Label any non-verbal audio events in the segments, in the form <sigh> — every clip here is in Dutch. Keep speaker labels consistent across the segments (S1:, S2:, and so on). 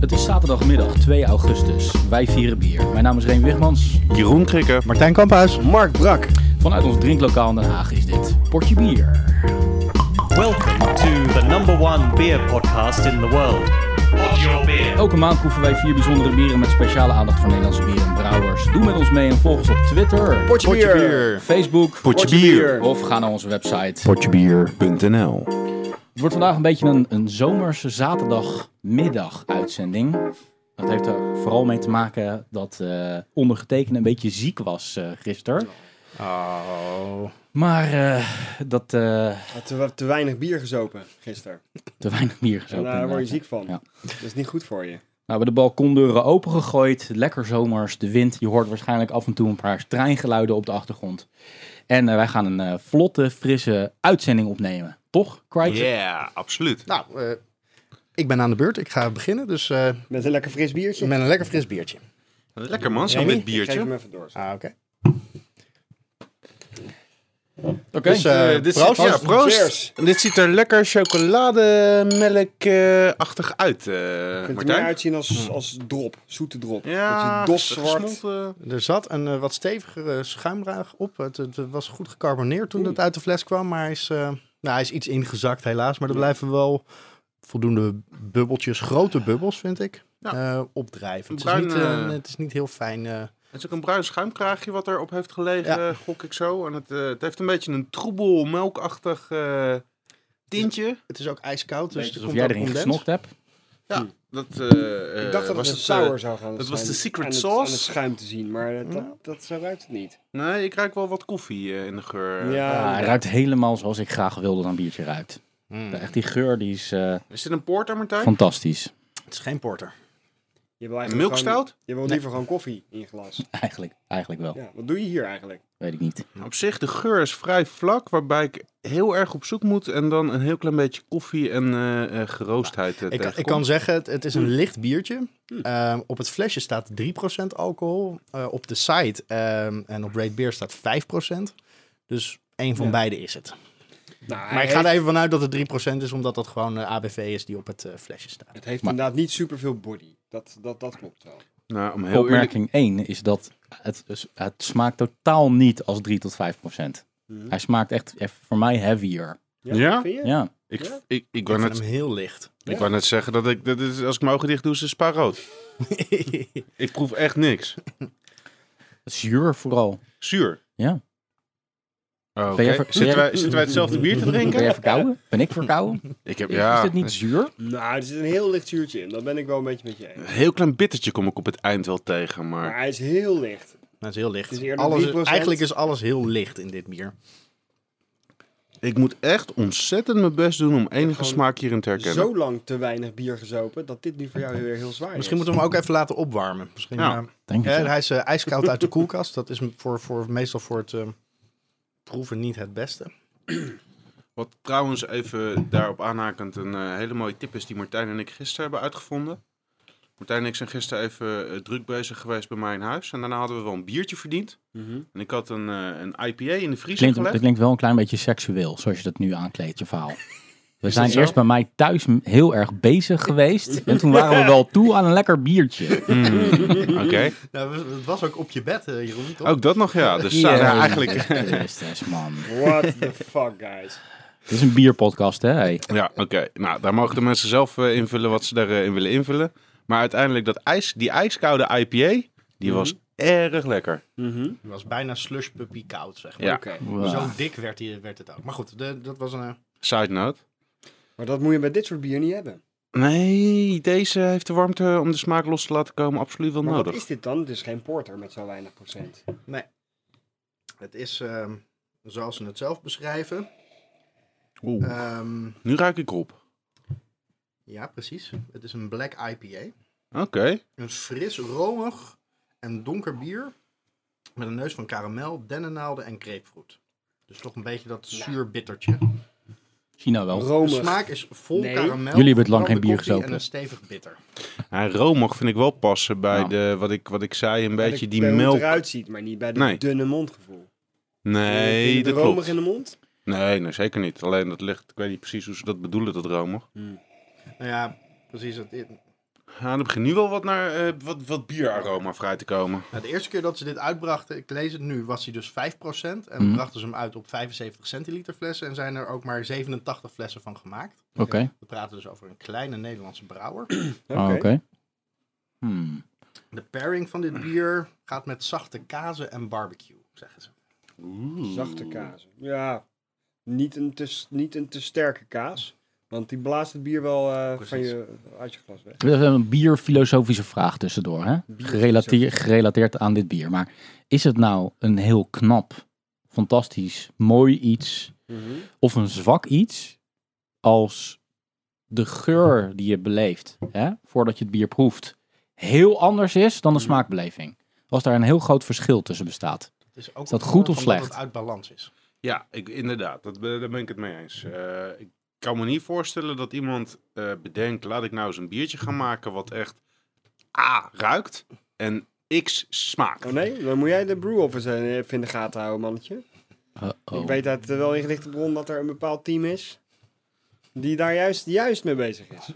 S1: Het is zaterdagmiddag 2 augustus. Wij vieren bier. Mijn naam is Reen Wigmans.
S2: Jeroen Krikker.
S3: Martijn Kamphuis.
S4: Mark Brak.
S1: Vanuit ons drinklokaal in Den Haag is dit Portje Bier.
S5: Welcome to the number one beer podcast in the world. Pod your beer.
S1: Elke maand proeven wij vier bijzondere bieren met speciale aandacht voor Nederlandse bieren en brouwers. Doe met ons mee en volg ons op Twitter,
S4: Potje bier.
S1: Facebook
S2: Potje bier.
S1: of ga naar onze website.
S2: Potjebier.nl
S1: Het wordt vandaag een beetje een, een zomerse zaterdagmiddag uitzending. Dat heeft er vooral mee te maken dat eh ondergetekende een beetje ziek was eh gisteren.
S3: Oh.
S1: Maar eh, dat eh,
S4: Had te, te weinig bier gezopen gisteren.
S1: te <laughs> weinig bier gezopen.
S4: En daar word je
S1: inderdaad.
S4: ziek van.
S1: Ja.
S4: Dat is niet goed voor je.
S1: Nou, we hebben de balkondeuren opengegooid. Lekker zomers, de wind. Je hoort waarschijnlijk af en toe een paar treingeluiden op de achtergrond. En eh, wij gaan een eh, vlotte, frisse uitzending opnemen. Toch, Craig?
S2: Ja, absoluut.
S3: Nou, eh, ik ben aan de beurt. Ik ga beginnen. Dus eh,
S4: Met een lekker fris biertje.
S3: met een lekker fris biertje.
S2: Lekker man, zo'n
S3: Remy?
S2: wit
S4: Ik geef
S2: biertje.
S4: hem even door.
S3: Ah, oké.
S1: Oké.
S3: Dus, eh,
S2: Eh, dit
S3: proost.
S2: Ziet, ja,
S4: Proost. Cheers.
S2: proost. En Dit ziet er lekker chocolademelkachtig uit, eh
S4: Je kunt er meer
S2: Martijn.
S4: uitzien als, als drop. Zoete drop.
S2: Ja,
S4: Beetje doszwart.
S2: gesmolten.
S3: Er zat een eh, wat stevigere schuimlaag op. Het, het was goed gecarboneerd toen het uit de fles kwam. Maar hij is, eh, nou, hij is iets ingezakt helaas. Maar er blijven wel voldoende bubbeltjes, grote bubbels vind ik,
S2: Ja.
S3: eh, opdrijven. Het is,
S2: Bruin,
S3: niet, eh,
S2: eh,
S3: het is niet heel fijn. eh,
S2: Het is ook een bruin schuimkraagje wat erop heeft gelegen,
S3: Ja.
S2: eh, gok ik zo. En het, eh, het heeft een beetje een troebel, melkachtig eh, tintje.
S3: het is ook ijskoud. Dus
S1: Dus
S3: er
S1: alsof
S3: komt
S1: jij
S3: ook
S1: erin
S3: condens.
S1: gesnokt hebt.
S2: Ja, dat eh,
S4: Ik dacht dat
S2: was
S4: het een
S2: eh,
S4: sour zou gaan
S2: dat
S4: zijn.
S2: was de secret
S4: Aan het-
S2: sauce.
S4: Aan het schuim te zien, maar dat,
S2: Ja.
S4: dat, dat- zo ruikt het niet.
S2: nee, ik ruik wel wat koffie eh, in de geur.
S1: Ah, hij
S4: Ja,
S1: ruikt helemaal zoals ik graag wilde dat een biertje ruikt.
S3: Mm.
S1: Echt die geur, die is eh,
S2: Is dit een porter, Martijn?
S1: fantastisch. <laughs>
S3: Het is geen porter.
S4: je wil
S2: Een
S4: eigenlijk gewoon-
S2: milkstout?
S4: Je wil liever gewoon koffie in je glas.
S1: Eigenlijk, eigenlijk wel.
S4: Ja, wat doe je hier eigenlijk?
S1: Weet ik niet.
S2: Nou, Op zich, de geur is vrij vlak, waarbij ik heel erg op zoek moet en dan een heel klein beetje koffie en eh, eh, geroostheid eh,
S3: Ik, ik
S2: tegenkom.
S3: kan zeggen, het, het is een licht biertje. Ehm, op het flesje staat 3% alcohol. Eh, op de site ehm, en op Rate Beer staat 5%. Dus één van
S4: Ja.
S3: beide is het.
S4: Nou,
S3: Maar ik ga er even vanuit dat het 3% is, omdat dat gewoon eh, ABV is die op het eh, flesje staat.
S4: Het heeft
S1: Maar-
S4: inderdaad niet superveel body. Dat, dat, dat klopt wel.
S2: Nou, om heel eerlijk...
S1: Opmerking 1 is dat het, dus, het smaakt totaal niet als 3 tot 5 procent.
S4: Mhm.
S1: Hij smaakt echt, echt voor mij heavier.
S2: Ja?
S4: Vind je?
S1: Ja.
S2: Ik,
S4: Ja?
S2: ik, ik,
S3: Ik
S2: wou
S3: vind
S2: net,
S3: hem heel licht. Nou,
S2: ik wou net zeggen dat ik, dat is, als ik mijn ogen dicht doe, is het spa
S3: <laughs>
S2: rood. Ik proef echt niks.
S1: Zuur vooral.
S2: Zuur.
S1: Ja.
S2: Oh, oké.
S1: Ben jij ver- ben
S2: zitten,
S1: jij-
S2: wij, zitten wij hetzelfde bier te
S1: Ben
S2: drinken?
S1: jij verkouden? Ben ik verkouden?
S2: Ik heb,
S1: Is
S2: ja,
S1: dit niet zuur?
S4: Nou, er zit een heel licht zuurtje in. Dat ben ik wel een beetje met je eens.
S2: een heel klein bittertje kom ik op het eind wel tegen,
S4: Maar
S2: maar...
S4: hij is heel licht.
S3: Dat is heel
S4: Het is
S3: licht.
S4: eerder
S3: Alles,
S4: 3%.
S3: eigenlijk is alles heel licht in dit bier.
S2: Ik moet echt ontzettend mijn best doen om enige
S4: gewoon
S2: smaak hierin te herkennen.
S4: Zo lang te weinig bier gezopen dat dit nu voor jou weer heel zwaar
S3: Misschien
S4: is.
S3: moeten we hem ook even laten opwarmen. Misschien,
S2: Ja.
S3: eh,
S1: Denk
S3: Ja,
S1: ik.
S3: hij is eh, ijskoud uit de koelkast. Dat is m- voor, voor, meestal voor het eh, proeven niet het beste.
S2: Wat trouwens even daarop aanhakend een eh, hele mooie tip is die Martijn en ik gisteren hebben uitgevonden. Martijn en ik zijn gisteren even eh, druk bezig geweest bij mij in huis. En daarna hadden we wel een biertje verdiend.
S4: Mhm.
S2: En ik had een, eh, een IPA in de vriezer
S1: Klinkt,
S2: gelegd.
S1: dat klinkt wel een klein beetje seksueel, zoals je dat nu aankleedt, je
S2: <laughs>
S1: verhaal. We
S2: Is
S1: zijn
S2: dat zo?
S1: eerst bij mij thuis m- heel erg bezig geweest. En toen waren we wel toe aan een lekker
S2: <laughs>
S1: biertje.
S2: Mm, Oké.
S3: Nou, het was ook op je bed, eh, Jeroen.
S2: Ook dat nog, ja. Dus
S1: Ja,
S2: ja, nou, eigenlijk...
S1: Christus, man.
S4: What the fuck, guys. <laughs>
S1: Dit is een bierpodcast, hè? Hey.
S2: Ja, oké. Nou, daar mogen de mensen zelf eh, invullen wat ze daarin willen invullen. Maar uiteindelijk, dat ijs, die ijskoude IPA, die was Mhm. erg lekker.
S4: Mhm.
S3: Het was bijna slush puppy koud, zeg maar.
S2: Ja.
S4: Oké.
S3: Zo
S1: Wow.
S3: dik werd, die, werd het ook. Maar goed, de- dat was een... eh,
S2: Side note.
S4: Maar dat moet je bij dit soort bier niet hebben.
S2: Nee, deze heeft de warmte om de smaak los te laten komen absoluut wel
S4: Maar
S2: nodig.
S4: wat is dit dan? Het is geen porter met zo weinig procent.
S3: het is, ehm, zoals ze het zelf beschrijven...
S2: Oeh.
S3: ehm,
S2: Nu ruik ik op.
S3: ja, precies. Het is een black IPA.
S2: Oké.
S3: Een fris, romig en donker bier... met een neus van karamel, dennennaalden en grapefruit. Dus toch een beetje dat zuur bittertje.
S1: China
S2: Nou,
S1: wel.
S3: De
S4: Romig.
S3: smaak is vol
S4: Nee.
S3: karamel.
S1: Jullie hebben het lang geen
S3: brandde
S1: bier
S3: koffie
S1: gezopen.
S3: En een stevig bitter.
S2: En romig vind ik wel passen bij
S1: Ja.
S2: de, wat ik, wat ik zei, een
S4: Bij
S2: beetje
S4: de-
S2: die
S4: bij hoe
S2: melk.
S4: het eruit ziet, maar niet bij de
S2: Nee.
S4: dunne mondgevoel. Vind
S2: Nee,
S4: je de
S2: dat
S4: romig
S2: klopt.
S4: in de mond?
S2: Nee, nee, zeker niet. Alleen dat ligt, ik weet niet precies hoe ze dat bedoelen, dat romig.
S3: Nou ja, precies. Het,
S2: Ja, er begint nu wel wat, naar, eh, wat, wat bieraroma vrij te komen.
S3: Nou, de eerste keer dat ze dit uitbrachten, ik lees het nu, was hij dus 5%. En
S1: Mhm.
S3: brachten ze hem uit op 75 centiliter flessen. En zijn er ook maar 87 flessen van gemaakt.
S1: Oké.
S3: We praten dus over een kleine Nederlandse brouwer.
S1: Oh,
S2: Ah,
S1: Oké. Hmm.
S3: De pairing van dit bier gaat met zachte kazen en barbecue, zeggen ze.
S4: Zachte kaas. Ja, niet een, te, niet een te sterke kaas. Want die blaast het bier wel eh, van je, uit je glas weg.
S1: Dat is een bierfilosofische vraag tussendoor. Hè? Gerelateer,
S4: Bierfilosofie.
S1: gerelateerd aan dit bier. Maar is het nou een heel knap, fantastisch, mooi iets of een zwak iets als de geur die je beleeft hè, voordat je het bier proeft heel anders is dan de smaakbeleving? Als daar een heel groot verschil tussen bestaat.
S3: Het is, ook
S1: Is dat
S3: een
S1: goed
S3: vorm
S1: of
S3: van
S1: slecht?
S3: Dat het uit balans is.
S2: Ja, ik, inderdaad. Dat, be- daar ben ik het mee eens. Eh, ik kan me niet voorstellen dat iemand eh, bedenkt... laat ik nou eens een biertje gaan maken wat echt A ruikt en X smaakt.
S4: Oh nee, dan moet jij de brew office eh, even in de gaten houden, mannetje.
S1: Uh-oh.
S4: Ik weet uit eh, wel ingelichte bron dat er een bepaald team is die daar juist, juist mee bezig is.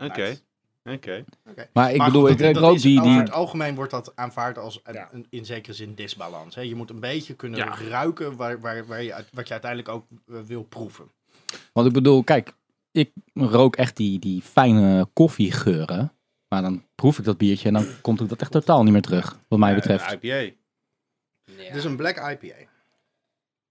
S2: Oké, oké.
S1: Maar ik
S3: Maar
S1: bedoel,
S3: goed,
S1: ik
S3: dat-
S1: ik
S3: dat
S1: rook
S3: is-
S1: die,
S3: Over
S1: die...
S3: het algemeen wordt dat aanvaard als een,
S4: Ja.
S3: een- in zekere zin disbalans. Hè? Je moet een beetje kunnen
S2: Ja.
S3: ruiken waar, waar, waar je, uit- wat je uiteindelijk ook eh, wil proeven.
S1: Want ik bedoel, kijk, ik rook echt die, die fijne koffiegeuren. Maar dan proef ik dat biertje en dan komt ook dat echt totaal niet meer terug, wat mij
S2: Eh,
S1: betreft.
S2: IPA.
S3: Het is een black IPA.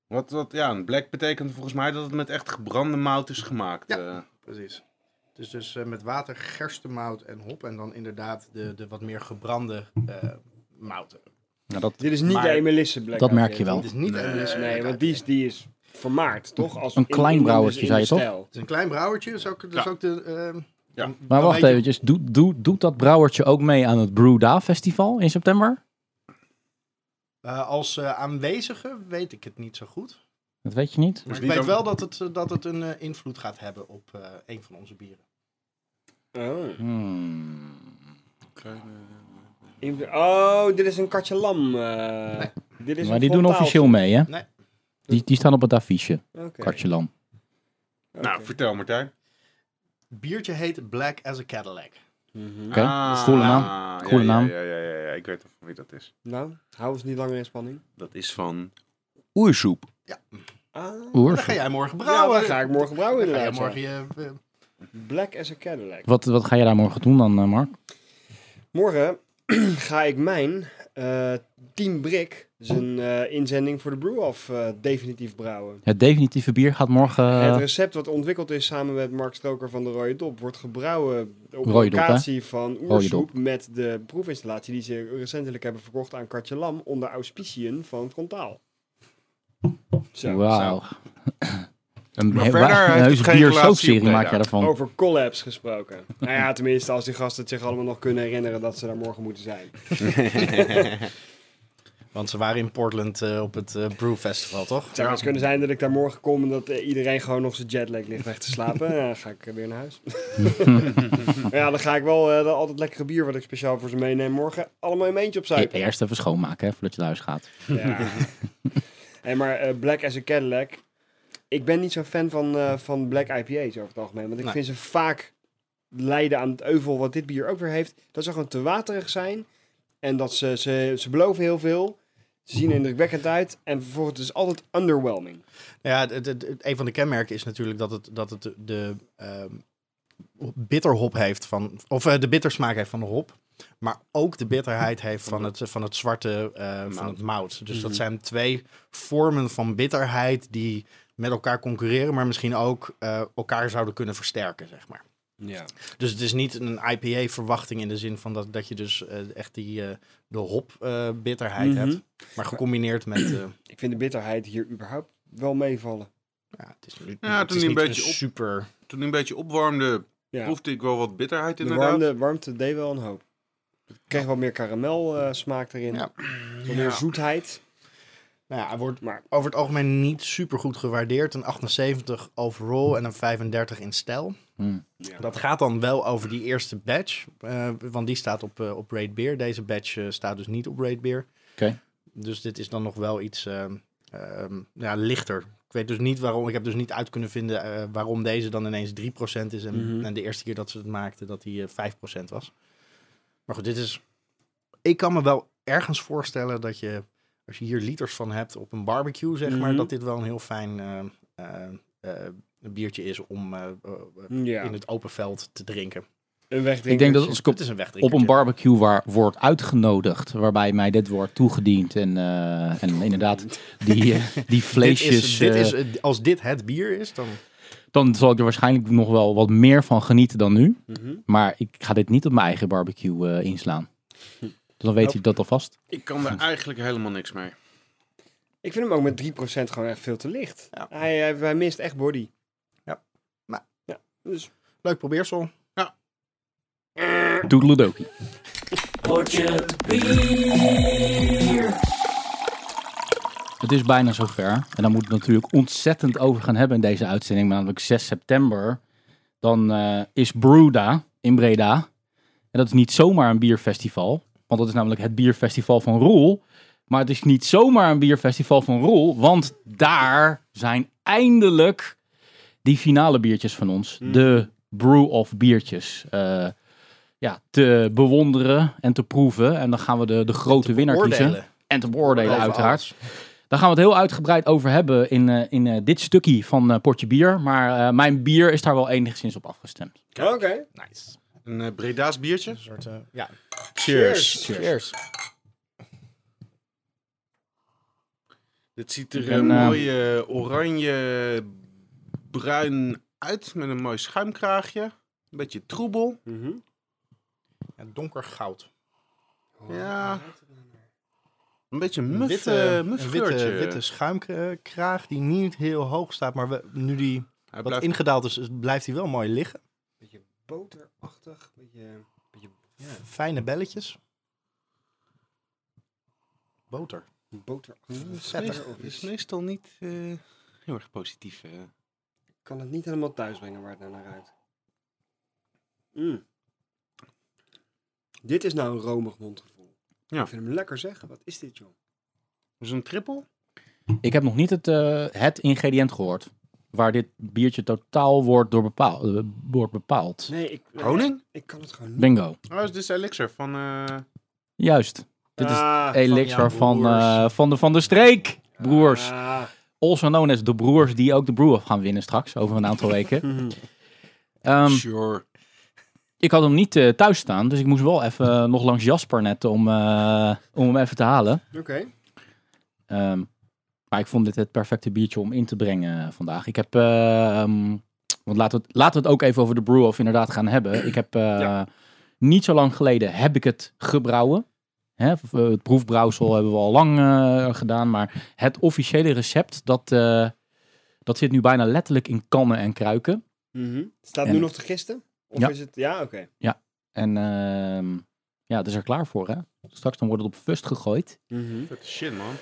S2: Wat, wat, ja, een black betekent volgens mij dat het met echt gebrande mout is gemaakt.
S3: Ja.
S2: eh.
S3: Precies. Het is dus eh, met water, gerstemout en hop. En dan inderdaad de, de wat meer gebrande eh, mouten.
S1: Nou, dat,
S4: Dit is niet
S2: Maar
S4: de Emelisse Black.
S1: dat
S4: IPA.
S1: merk je wel.
S3: Het is niet een Melissa
S4: Nee,
S3: Black
S4: want
S3: IPA.
S4: die is, die is vermaard, toch? Als
S1: Een
S4: in-
S1: klein
S4: in de-
S1: brouwertje,
S4: in de
S1: zei je toch?
S4: stijl.
S3: Het is een klein brouwertje. Dat is ook, dat is
S2: Ja.
S3: ook de... eh,
S2: Ja.
S3: dan-
S1: Maar
S3: dan
S1: wacht
S3: weet je-
S1: eventjes, doe, doe, doet dat brouwertje ook mee aan het Brewda Festival in september?
S3: eh, als eh, aanwezige weet ik het niet zo goed.
S1: Dat weet je niet.
S3: Maar ik
S2: die
S3: weet
S2: dan-
S3: wel dat het, eh, dat het een eh, invloed gaat hebben op eh, een van onze bieren.
S4: Oh.
S1: Hmm.
S4: In- Oh, dit is een katje lam. eh. dit is
S1: Maar die
S4: een
S1: doen
S4: frontaaltje.
S1: officieel mee, hè?
S3: Nee.
S1: Die, die staan op het affiche,
S4: Oké,
S1: Kartje Lam.
S4: oké.
S2: Nou, vertel Martijn.
S3: Het biertje heet Black as a Cadillac.
S4: Mhm.
S1: Oké,
S2: Ah.
S1: coole naam.
S2: ja,
S1: Coole
S2: ja,
S1: naam.
S2: Ja, ja, ja, ja, ik weet al van wie dat is.
S4: Nou, hou ons niet langer in spanning.
S2: Dat is van Oersoep.
S4: Ah,
S1: Oers.
S3: Dan ga jij morgen
S4: ja,
S3: brouwen.
S4: dan ga ik morgen
S3: Dan
S4: brouwen
S3: ga jij
S4: inderdaad.
S3: morgen
S4: ja.
S3: je... eh,
S4: Black as a Cadillac.
S1: Wat, wat ga je daar morgen doen dan, eh, Mark?
S4: Morgen <clears throat> ga ik mijn eh, Team Brick, zijn eh, inzending voor de Brew-Off, eh, definitief brouwen.
S1: Het definitieve bier gaat morgen...
S4: Het recept wat ontwikkeld is samen met Mark Stroker van de Rode Dop wordt gebrouwen op
S1: Rode Dop,
S4: locatie van Oersoep
S1: Dop.
S4: met de proefinstallatie die ze recentelijk hebben verkocht aan Kartje Lam onder auspiciën van Frontaal. Zo.
S1: eh, Wauw. <clears throat> Een,
S2: Maar
S1: he-
S2: verder
S1: wa- een
S2: heeft het
S1: heuse
S2: geen relatie op
S1: bier-soapserie maak
S2: Breda.
S1: jij daarvan.
S4: Over collabs gesproken. nou ja, tenminste, als die gasten het zich allemaal nog kunnen herinneren dat ze daar morgen moeten zijn.
S3: Want ze waren in Portland eh, op het eh, Brew Festival, toch?
S4: Het zou best kunnen zijn dat ik daar morgen kom en dat eh, iedereen gewoon nog zijn jetlag ligt weg te slapen. Ja, dan ga ik eh, weer naar huis. <laughs> Maar ja, dan ga ik wel eh, dat altijd lekkere bier wat ik speciaal voor ze meeneem morgen allemaal in mijn eentje
S1: E-
S4: opzuipen.
S1: Eerst even schoonmaken, hè, voordat je naar huis gaat.
S4: Ja. Hey, maar eh, Black as a Cadillac. Ik ben niet zo'n fan van, eh, van Black IPA's over het algemeen. Want ik
S3: Nee.
S4: vind ze vaak lijden aan het euvel wat dit bier ook weer heeft. Dat ze gewoon te waterig zijn. En dat ze, ze, ze beloven heel veel. Ze zien er indrukwekkend uit. En vervolgens is het altijd underwhelming.
S3: Ja, het, het- het- een van de kenmerken is natuurlijk dat het, dat het de ehm, bitterhop heeft van, of eh, de bittersmaak heeft van de hop, maar ook de bitterheid heeft van het, van het zwarte, eh, van het mout. Dus dat zijn twee vormen van bitterheid die met elkaar concurreren, maar misschien ook eh, elkaar zouden kunnen versterken, zeg maar.
S4: Ja.
S3: Dus het is niet een IPA-verwachting in de zin van dat, dat je dus eh, echt die, eh, de hop-bitterheid
S4: Mhm.
S3: hebt, maar gecombineerd met... eh,
S4: Ik vind de bitterheid hier überhaupt wel meevallen.
S3: ja, het is, nu-
S2: Ja,
S3: het
S2: toen
S3: is
S2: die
S3: niet
S2: een
S3: een
S2: beetje op-
S3: super...
S2: Toen hij een beetje opwarmde,
S4: Ja.
S2: proefde ik wel wat bitterheid
S4: De
S2: inderdaad.
S4: warmte, warmte deed wel een hoop. Ik kreeg wel meer karamel eh, smaak erin.
S3: Ja.
S4: Wat meer zoetheid.
S3: Nou ja, hij wordt
S4: Maar
S3: over het algemeen niet super goed gewaardeerd. Een 78 overall en een 35 in stijl.
S1: Hmm.
S3: Dat gaat dan wel over die eerste badge. eh, want die staat op, eh, op Raid Beer. Deze badge eh, staat dus niet op Raid Beer.
S1: Oké.
S3: Dus dit is dan nog wel iets eh, ehm, ja, lichter. Ik weet dus niet waarom. Ik heb dus niet uit kunnen vinden eh, waarom deze dan ineens 3% is. En,
S4: Mhm.
S3: en de eerste keer dat ze het maakten, dat die eh, 5% was. Maar goed, dit is. Ik kan me wel ergens voorstellen dat je, als je hier liters van hebt op een barbecue, zeg maar,
S4: Mhm.
S3: dat dit wel een heel fijn eh, eh, eh, biertje is om eh, eh,
S4: Mm, Ja,
S3: in het open veld te drinken.
S4: een wegdrinkertje.
S1: Ik denk dat als ik op,
S3: Het is een wegdrinker.
S1: op een barbecue waar, wordt uitgenodigd, waarbij mij dit wordt toegediend en, eh, en inderdaad die,
S3: <laughs>
S1: eh, die vleesjes,
S3: Dit is,
S1: eh,
S3: dit is, als dit het bier is, dan
S1: dan zal ik er waarschijnlijk nog wel wat meer van genieten dan nu.
S4: Mhm.
S1: Maar ik ga dit niet op mijn eigen barbecue eh,
S3: <laughs>
S1: inslaan. Dus dan weet
S4: Nope.
S1: je dat alvast.
S2: Ik kan daar eigenlijk helemaal niks mee.
S4: Ik vind hem ook met 3% gewoon echt veel te licht.
S3: Ja.
S4: Hij, hij, hij mist echt body.
S3: Ja. Maar-
S4: Ja, dus...
S3: leuk probeersel.
S1: Toedeledokie. Het is bijna zover. En dan moeten we het natuurlijk ontzettend over gaan hebben in deze uitzending. Maar namelijk 6 september. Dan eh, is Bruda in Breda. En dat is niet zomaar een bierfestival. Want dat is namelijk het bierfestival van Roel. Maar het is niet zomaar een bierfestival van Roel. Want daar zijn eindelijk die finale biertjes van ons. De Brew of Biertjes. eh, ja, te bewonderen en te proeven. En dan gaan we de, de grote winnaar kiezen.
S3: Oordelen.
S1: En te beoordelen,
S3: Over
S1: uiteraard.
S3: alles.
S1: Daar gaan we het heel uitgebreid over hebben in, eh, in eh, dit stukje van eh, Portje Bier. Maar eh, mijn bier is daar wel enigszins op afgestemd.
S4: Oké.
S3: Nice.
S2: Een eh, Breda's biertje?
S3: Een soort, eh, ja.
S2: Cheers.
S3: Cheers.
S2: Dit ziet er
S1: Ik
S2: eh,
S1: ben, eh,
S2: mooi eh, oranje, bruin uit met een mooi schuimkraagje. Een beetje troebel.
S4: Mhm.
S3: Ja, donker goud.
S2: Ja.
S1: Ah.
S2: Een beetje
S3: Een
S2: muff,
S3: witte,
S2: eh,
S3: een
S2: muff
S3: witte,
S2: kleurtje.
S3: witte schuimkraag die niet heel hoog staat, maar we- nu die
S2: Hij
S3: wat
S2: blijft
S3: ingedaald is, is- blijft hij wel mooi liggen.
S4: Beetje boterachtig. Beetje, beetje ja,
S3: Fijne belletjes. Boter.
S2: Dat
S4: boterachtig.
S2: is
S3: Vetter.
S2: meestal- dat is meestal niet eh, heel erg positief. eh.
S4: Ik kan het niet helemaal thuisbrengen waar het nou naar ruikt. Mm. Dit is nou een romig mondgevoel.
S2: Ja.
S4: Ik vind hem lekker zeg. Wat is dit, joh?
S2: Dus een trippel?
S1: Ik heb nog niet het, eh, het ingrediënt gehoord waar dit biertje totaal wordt, door bepaald, wordt bepaald.
S4: Nee, ik, eh,
S2: Honing?
S4: ik kan het gewoon niet.
S1: Bingo.
S2: Oh, dus dit is elixir van... eh,
S1: Juist. Dit is
S4: Ah,
S1: het elixir
S3: Jan
S1: van,
S3: Broers.
S1: eh, van, de, van de streek. Broers.
S4: ah.
S1: Also known as de broers die ook de brew of gaan winnen straks. Over een aantal weken.
S4: Mhm.
S1: Ehm,
S2: sure.
S1: ik had hem niet eh, thuis staan. Dus ik moest wel even eh, nog langs Jasper net om, eh, om hem even te halen.
S2: Ah.
S4: Oké.
S1: Ehm, maar ik vond dit het perfecte biertje om in te brengen vandaag. Ik heb, eh, ehm, want laten we, het, laten we het ook even over de brew of inderdaad gaan hebben. Ik heb eh, niet zo lang geleden heb ik het gebrouwen. Hè, v- eh, het proefbrouwsel hebben we al lang eh, gedaan, maar het officiële recept dat, eh, dat zit nu bijna letterlijk in kannen en kruiken.
S4: Mhm. Staat
S1: En-
S4: nu nog te gisten? Of
S1: Ja.
S4: is het... Ja, oké.
S1: En ehm, ja, het is er klaar voor hè. Straks dan wordt het op fust gegooid.
S4: Mhm.
S2: Vette shit, man.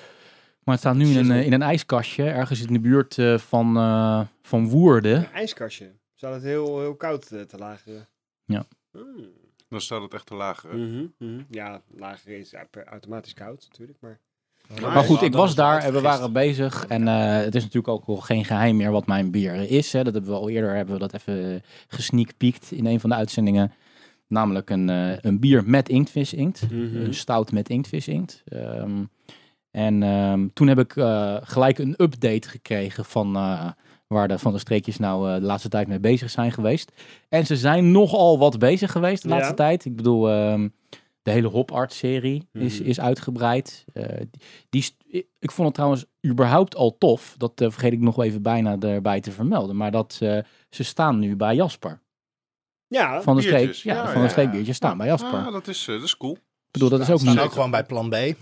S1: Maar het staat nu in een,
S4: Shizzle.
S1: eh, in een ijskastje, ergens in de buurt eh, van, eh, van Woerden.
S4: Een ijskastje. Zou het heel, heel koud eh, te lageren?
S1: Ja.
S4: Mm.
S2: Dan staat het echt te eh. lager.
S4: Mhm, mhm. Ja, lager is ja, per- automatisch koud natuurlijk, maar...
S1: Maar goed,
S3: Ja,
S1: ik
S3: dan
S1: was
S3: is het
S1: daar en we
S3: uitgegist.
S1: waren bezig. En eh, het is natuurlijk ook al geen geheim meer wat mijn bier is. Hè. Dat hebben we al eerder hebben we dat even gesneakpeekt in een van de uitzendingen. Namelijk een, eh, een bier met inktvisinkt.
S2: Mhm.
S4: Mhm.
S1: Een Eh, stout met inktvisinkt. Ehm, en ehm, toen heb ik eh, gelijk een update gekregen van eh, waar de Van de Streekjes nou eh, de laatste tijd mee bezig zijn geweest. En ze zijn nogal wat bezig geweest de laatste
S4: Ja.
S1: tijd. Ik bedoel, ehm, de hele Hop Art serie is,
S4: Mhm.
S1: is uitgebreid. Eh, die- die, st- ik- ik vond het trouwens überhaupt al tof. Dat eh, vergeet ik nog even bijna erbij te vermelden. Maar dat eh, ze staan nu bij Jasper.
S4: Ja,
S1: Van de Streek,
S2: biertjes.
S1: ja,
S2: Ja,
S1: van de
S2: ja.
S1: Streek biertjes staan bij Jasper.
S2: Ah, dat is, eh, dat is cool.
S1: ik bedoel, dat is ook
S3: Ze staan ook
S1: niet...
S3: gewoon bij plan B. En,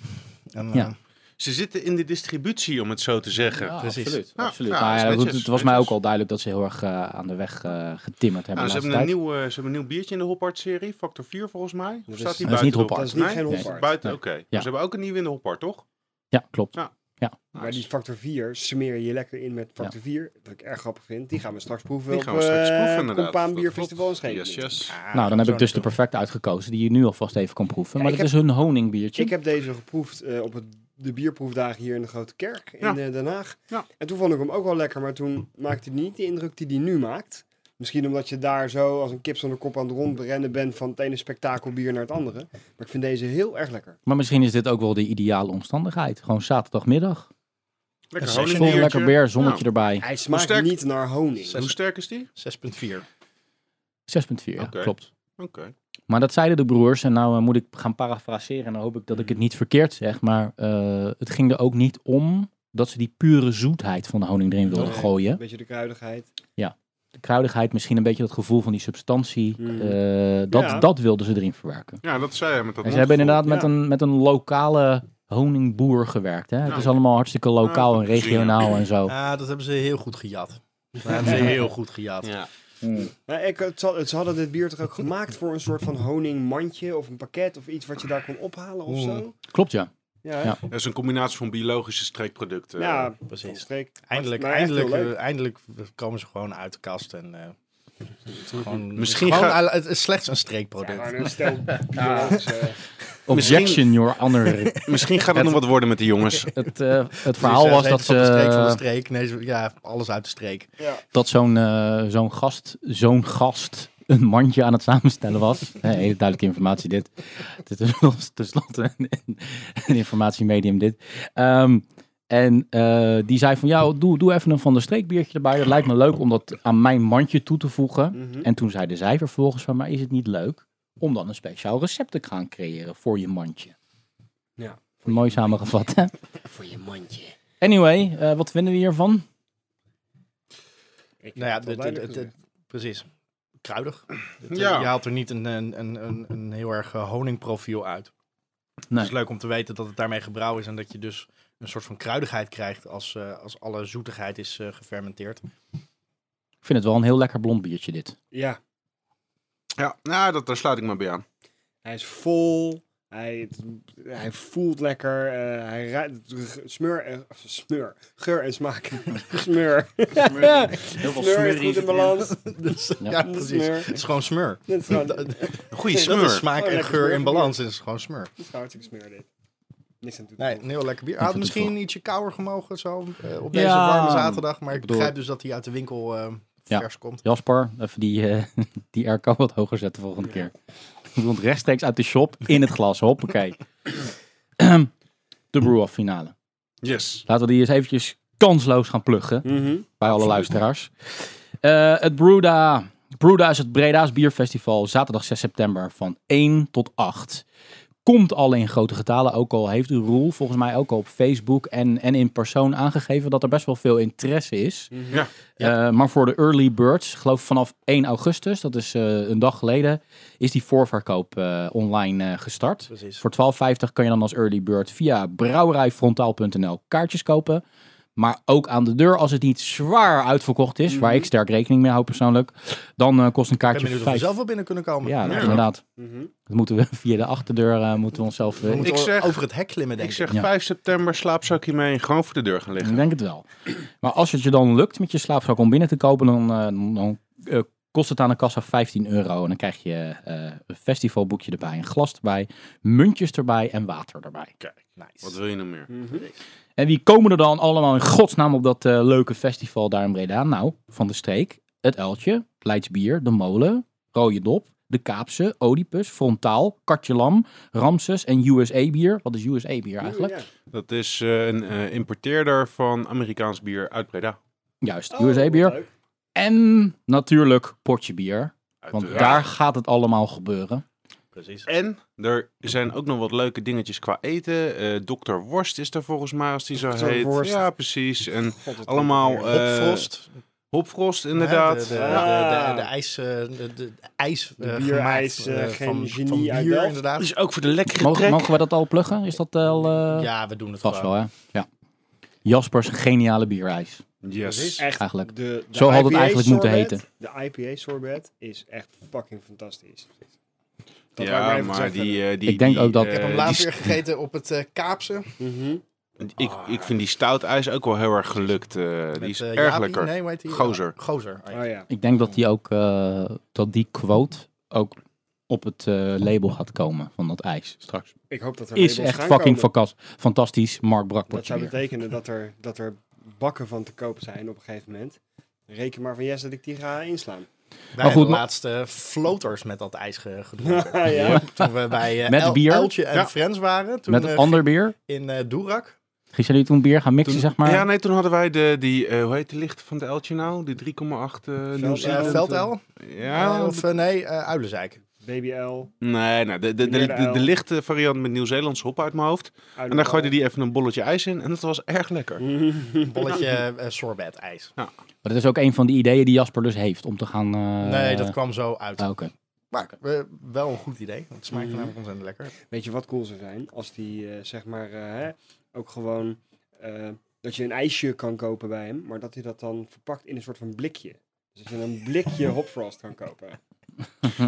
S3: eh,
S1: Ja.
S2: Ze zitten in de distributie, om het zo te zeggen.
S1: Ja,
S3: precies.
S1: absoluut.
S2: Ja,
S1: absoluut.
S2: ja,
S1: Maar
S2: is
S1: ja, goed,
S2: netjes,
S1: het was mij ook
S2: netjes.
S1: al duidelijk dat ze heel erg eh, aan de weg eh, getimmerd hebben.
S2: Nou,
S1: de
S2: ze,
S1: laatste
S2: hebben een
S1: tijd.
S2: nieuw, eh, ze hebben een nieuw biertje in de Hopart-serie, Factor 4 volgens mij. Of
S4: is-
S2: staat die
S1: dat is niet
S2: buiten
S1: Hopart.
S4: dat is niet
S2: Nee?
S4: geen
S1: Nee,
S2: Is
S4: hopart.
S2: het buiten?
S1: Nee.
S2: Oké. Maar Ze hebben ook een nieuwe in de Hopart, toch?
S1: Ja, klopt.
S4: Maar die factor 4 smeer je lekker in met factor 4, wat ik erg grappig vind. Die gaan we straks proeven
S2: Die
S4: op
S2: gaan we straks
S4: eh,
S2: proeven, inderdaad.
S4: Compaan
S2: Dat
S4: Bier
S2: klopt.
S4: Festival in Scheveningen.
S2: Yes, yes.
S3: ah,
S1: nou, dan heb ik dus de
S3: zo'n-
S1: perfecte uitgekozen die je nu alvast even kan proeven.
S4: Ja,
S1: maar
S4: ik
S1: dat is hun honingbiertje.
S4: Ik heb deze geproefd eh, op het de bierproefdagen hier in de Grote Kerk in
S2: Ja.
S4: eh, Den Haag.
S2: Ja.
S4: En toen vond ik hem ook wel lekker, maar toen maakte hij niet de indruk die hij nu maakt. Misschien omdat je daar zo als een kip zonder kop aan het rondrennen bent van het ene spektakelbier naar het andere. Maar ik vind deze heel erg lekker.
S1: Maar misschien is dit ook wel de ideale omstandigheid. Gewoon zaterdagmiddag.
S2: Lekker
S3: Vol
S1: Vol
S2: honingbiertje.
S1: lekker weer, zonnetje erbij. 6,4,
S4: Hij smaakt
S2: sterk-
S4: niet naar honing.
S2: Nou, hoe sterk is die?
S3: 6,4.
S1: ja,
S2: Oké.
S1: klopt.
S2: Oké.
S1: Maar dat zeiden de broers. En nou eh, moet ik gaan parafraseren. En dan hoop ik dat ik het niet verkeerd zeg. Maar eh, het ging er ook niet om dat ze die pure zoetheid van de honing erin wilden
S4: Nee.
S1: gooien.
S4: Een beetje de kruidigheid.
S1: De kruidigheid, misschien een beetje dat gevoel van die substantie.
S4: Mm.
S1: eh, dat,
S4: Ja.
S1: dat wilden ze erin verwerken.
S2: Ja, dat zei hij met dat
S1: En ze hebben
S2: mondgevoel.
S1: inderdaad met,
S4: Ja.
S1: een, met een lokale honingboer gewerkt. Hè?
S2: Ja.
S1: Het is allemaal hartstikke lokaal
S2: Ja,
S1: en
S2: dat heb ik
S1: regionaal en zo.
S3: Ah, dat hebben ze heel goed gejat. Dat hebben ze heel goed gejat.
S2: Ja.
S4: Nou, ik, het, zal- het- ze hadden dit bier toch ook gemaakt voor een soort van honingmandje of een pakket of iets wat je daar kon ophalen of zo?
S1: Klopt ja.
S4: Ja,
S1: Ja.
S4: ja.
S2: Dat is een combinatie van biologische streekproducten.
S4: ja
S3: Precies.
S4: streek.
S3: Eindelijk,
S4: Maar echt
S3: eindelijk,
S4: heel leuk.
S3: eh, eindelijk komen ze gewoon uit de kast. En, eh, het is gewoon,
S2: Misschien
S3: gewoon,
S2: ga-
S3: eh, het is slechts een
S4: Ja,
S3: streekproduct.
S4: maar een stel <laughs> dus, eh, biologische-
S1: Objection, your honor.
S2: <laughs> Misschien gaat het nog wat worden met die jongens.
S1: het, eh,
S3: <laughs>
S1: het
S3: Dus,
S1: verhaal
S3: eh,
S1: was
S3: ze
S1: dat,
S3: eten van de streek van de
S1: ze,
S3: streek. Nee, ze- ja, alles uit de streek.
S4: Ja.
S1: dat zo'n eh, zo'n gast, zo'n gast een mandje aan het samenstellen was. Eh, hele duidelijke informatie dit. Dit is <laughs> ons tenslotte een, een informatiemedium dit. Ehm, en eh, die zei van, ja, doe, doe even een van de streekbiertje erbij. Dat lijkt me leuk om dat aan mijn mandje toe te voegen.
S4: Mhm.
S1: En toen zeiden zij vervolgens van, maar is het niet leuk om dan een speciaal recept te gaan creëren voor je mandje?
S4: Ja.
S1: Mooi samengevat, hè?
S4: Voor je mandje.
S1: Anyway, eh, wat vinden we hiervan?
S3: Nou ja,
S4: het wel
S3: het- het-
S4: duidelijk
S3: het- precies. Kruidig. Het, eh,
S2: <laughs> Ja.
S3: Je haalt er niet een, een, een, een, een heel erg eh, honingprofiel uit. Dus
S1: Nee.
S3: Het is leuk om te weten dat het daarmee gebrouwen is en dat je dus een soort van kruidigheid krijgt als, eh, als alle zoetigheid is eh, gefermenteerd.
S1: Ik vind het wel een heel lekker blond biertje, dit.
S4: Ja,
S2: Ja, nou, dat, daar sluit ik me bij aan.
S4: hij is vol. Hij, hij voelt lekker. eh, hij ruikt smeur, en- smeur. Geur en smaak. <laughs> smeur.
S6: Heel veel
S4: Smeur is
S6: smurrie
S4: goed in
S6: zit
S4: balans.
S3: Dus, ja.
S1: Ja.
S3: precies.
S4: Smeur.
S3: Het is gewoon smeur.
S4: Dit is gewoon-
S3: Dat-
S4: dit
S2: Een goede
S3: Dat is
S2: smeur.
S3: smaak
S4: Oh,
S3: en
S4: lekker
S3: geur
S4: smeur.
S3: in balans. Het is gewoon smeur.
S4: is hartstikke smeur dit. Niks aan toe te
S3: Nee,
S4: voegen.
S3: een heel lekker bier. Hij
S1: Niet
S3: had
S1: te
S3: misschien
S1: toeval.
S3: ietsje kouder gemogen zo, eh, op
S1: Ja,
S3: deze warme zaterdag. Maar ik,
S1: ik bedoel-
S3: begrijp dus dat hij uit de winkel eh,
S1: Ja.
S3: vers komt.
S1: Jasper, even die, eh, <laughs> die airco wat hoger zetten volgende keer. <laughs> Die komt rechtstreeks uit de shop in het glas. Hoppakee. <clears throat> Ehm, de brew-off finale.
S2: Yes.
S1: Laten we die eens eventjes kansloos gaan pluggen.
S4: Mhm.
S1: bij alle luisteraars. Eh, het Bruda. Bruda is het Breda's Bierfestival, zaterdag 6 september van 1 tot 8. Komt al in grote getalen, ook al heeft de Roel volgens mij ook al op Facebook en, en in persoon aangegeven dat er best wel veel interesse is.
S4: Mhm.
S2: Ja.
S1: Eh, maar voor de early birds, geloof ik vanaf 1 augustus, dat is eh, een dag geleden, is die voorverkoop eh, online eh, gestart.
S3: Precies.
S1: Voor 12,50 kan je dan als early bird via brouwerijfrontaal.nl kaartjes kopen. Maar ook aan de deur, als het niet zwaar uitverkocht is, waar ik sterk rekening mee hou persoonlijk, dan eh, kost een
S3: Mhm. Ik ben
S1: kaartje
S3: benieuwd of we
S1: vijf-
S3: zelf wel binnen kunnen komen.
S1: Ja, nou,
S2: Ja.
S1: inderdaad.
S4: Mhm.
S1: Dat moeten we <laughs> via de achterdeur eh, moeten we onszelf. eh,
S3: We moeten
S2: Ik
S3: wel
S2: zeg-
S3: over het hek klimmen, denk
S2: Ik
S3: ik.
S2: zeg
S1: Ja.
S2: 5 september slaapzakje mee en gewoon voor de deur gaan
S1: Ik
S2: liggen.
S1: denk het wel. Maar als het je dan lukt met je slaapzak om binnen te kopen, dan, eh, dan- dan eh, kost het aan de kassa 15 euro. En dan krijg je eh, een festivalboekje erbij, een glas erbij, muntjes erbij en water erbij.
S2: Wat wil je nou meer?
S4: Mhm.
S1: En wie komen er dan allemaal in godsnaam op dat eh, leuke festival daar in Breda? Nou, van de streek, het Uiltje, Leidsbier, De Molen, Rode Dop, De Kaapse, Oedipus, Frontaal, Katje Lam, Ramses en USA bier. Wat is USA bier eigenlijk?
S4: Ja.
S2: Dat is eh, een eh, importeerder van Amerikaans bier uit Breda.
S1: Juist,
S4: Oh,
S1: USA bier.
S4: leuk.
S1: En natuurlijk potje bier. Want
S2: Uiteraard.
S1: daar gaat het allemaal gebeuren.
S3: Precies.
S2: En er zijn ook nog wat leuke dingetjes qua eten. Eh Dr. Worst is daar volgens mij, als die zo
S4: Dr.
S2: heet.
S4: Worst.
S2: Ja, precies. En
S4: God, wat
S2: allemaal,
S4: leuk.
S2: eh,
S3: Hopfrost.
S2: Hopfrost,
S3: Hè, De,
S2: inderdaad.
S3: de,
S4: Ah.
S3: de, de, de ijs... eh, De, de ijs, eh,
S4: De
S3: gemaakt,
S4: bierijs, eh,
S3: eh,
S4: geen
S3: van,
S4: genie
S3: van bier,
S4: uit Delft.
S2: Dat
S3: inderdaad.
S2: is ook voor de lekkere
S1: Mogen,
S2: trek.
S1: mogen we dat al pluggen? Is dat al... eh,
S3: Ja, we doen het
S1: Vast
S3: gewoon.
S1: wel, hè? Ja. Jaspers geniale bierijs.
S2: Yes.
S4: Echt
S1: Eigenlijk.
S4: De, de
S1: Zo had het
S4: IPA
S1: eigenlijk moeten
S4: sorbet,
S1: heten.
S4: De IPA sorbet is echt fucking fantastisch. Dat wou ik
S2: ja,
S4: even
S2: maar
S4: gezegd
S2: die, eh, die...
S1: Ik denk
S2: die,
S1: ook dat-
S2: eh,
S1: Ik
S3: Ik heb hem
S2: die
S3: laatst weer gegeten op het eh, Kaapse.
S4: hebben. Mhm.
S2: Ik, ik vind die stoutijs ook wel heel erg gelukt. eh, die is
S3: Met, eh,
S2: erg
S3: Jaapie.
S2: lekker.
S3: Nee, hoe heet die?
S2: Gozer.
S3: Gozer. Oh, ja.
S4: Oh ja.
S1: Ik denk dat die ook eh, dat die quote ook op het eh, label gaat komen van dat ijs straks.
S4: Ik hoop dat er
S1: Is
S4: labels
S1: echt
S4: gaan
S1: fucking
S4: komen.
S1: fantas- fantastisch. Mark Brak
S4: Dat
S1: portje
S4: zou
S1: weer.
S4: betekenen dat er, dat er bakken van te koop zijn op een gegeven moment. Reken maar van yes dat ik die
S2: <laughs>
S4: ga inslaan.
S1: Maar goed,
S3: Wij hebben de
S1: maar-
S3: laatste floaters met dat ijs ge- gedronken.
S4: ja.
S3: Toen we bij eh
S1: Met
S3: El-
S1: bier?
S3: Eltje en
S2: Ja.
S3: Friends waren. Toen
S1: Met
S3: eh,
S1: een ander bier.
S3: in eh, Doerak.
S1: Gingen jullie toen bier gaan mixen,
S2: Toen-
S1: zeg maar?
S2: Ja, nee, toen hadden wij de, die, eh, hoe heet de licht van de Eltje nou? Die 3,8 eh
S4: Veld-
S2: New
S4: eh,
S2: Zealand.
S3: Eh, Veldel?
S2: Ja,
S3: Eh, of eh, nee, eh Uilenzeik.
S4: Baby L.
S2: nee, nou, de, de, de,
S4: Meneer de
S2: de, de
S4: Uil.
S2: lichte variant met Nieuw-Zeelandse hop uit mijn hoofd. En daar gooide die even een bolletje ijs in en dat was erg lekker.
S4: Mm.
S3: Bolletje eh, sorbet ijs.
S1: Maar dat is ook een van die ideeën die Jasper dus heeft om te gaan. eh,
S3: Nee, dat kwam zo uit.
S1: ah, oké.
S3: Maar eh, wel een goed idee. want Het smaakte
S4: Mhm.
S3: namelijk ontzettend
S1: Dus
S3: lekker.
S4: Weet je wat cool zou zijn? Als die, eh, zeg maar, eh, hè, ook gewoon... eh, dat je een ijsje kan kopen bij hem, maar dat hij dat dan verpakt in een soort van blikje. Dus dat je een
S2: <laughs>
S4: blikje hopfrost kan kopen.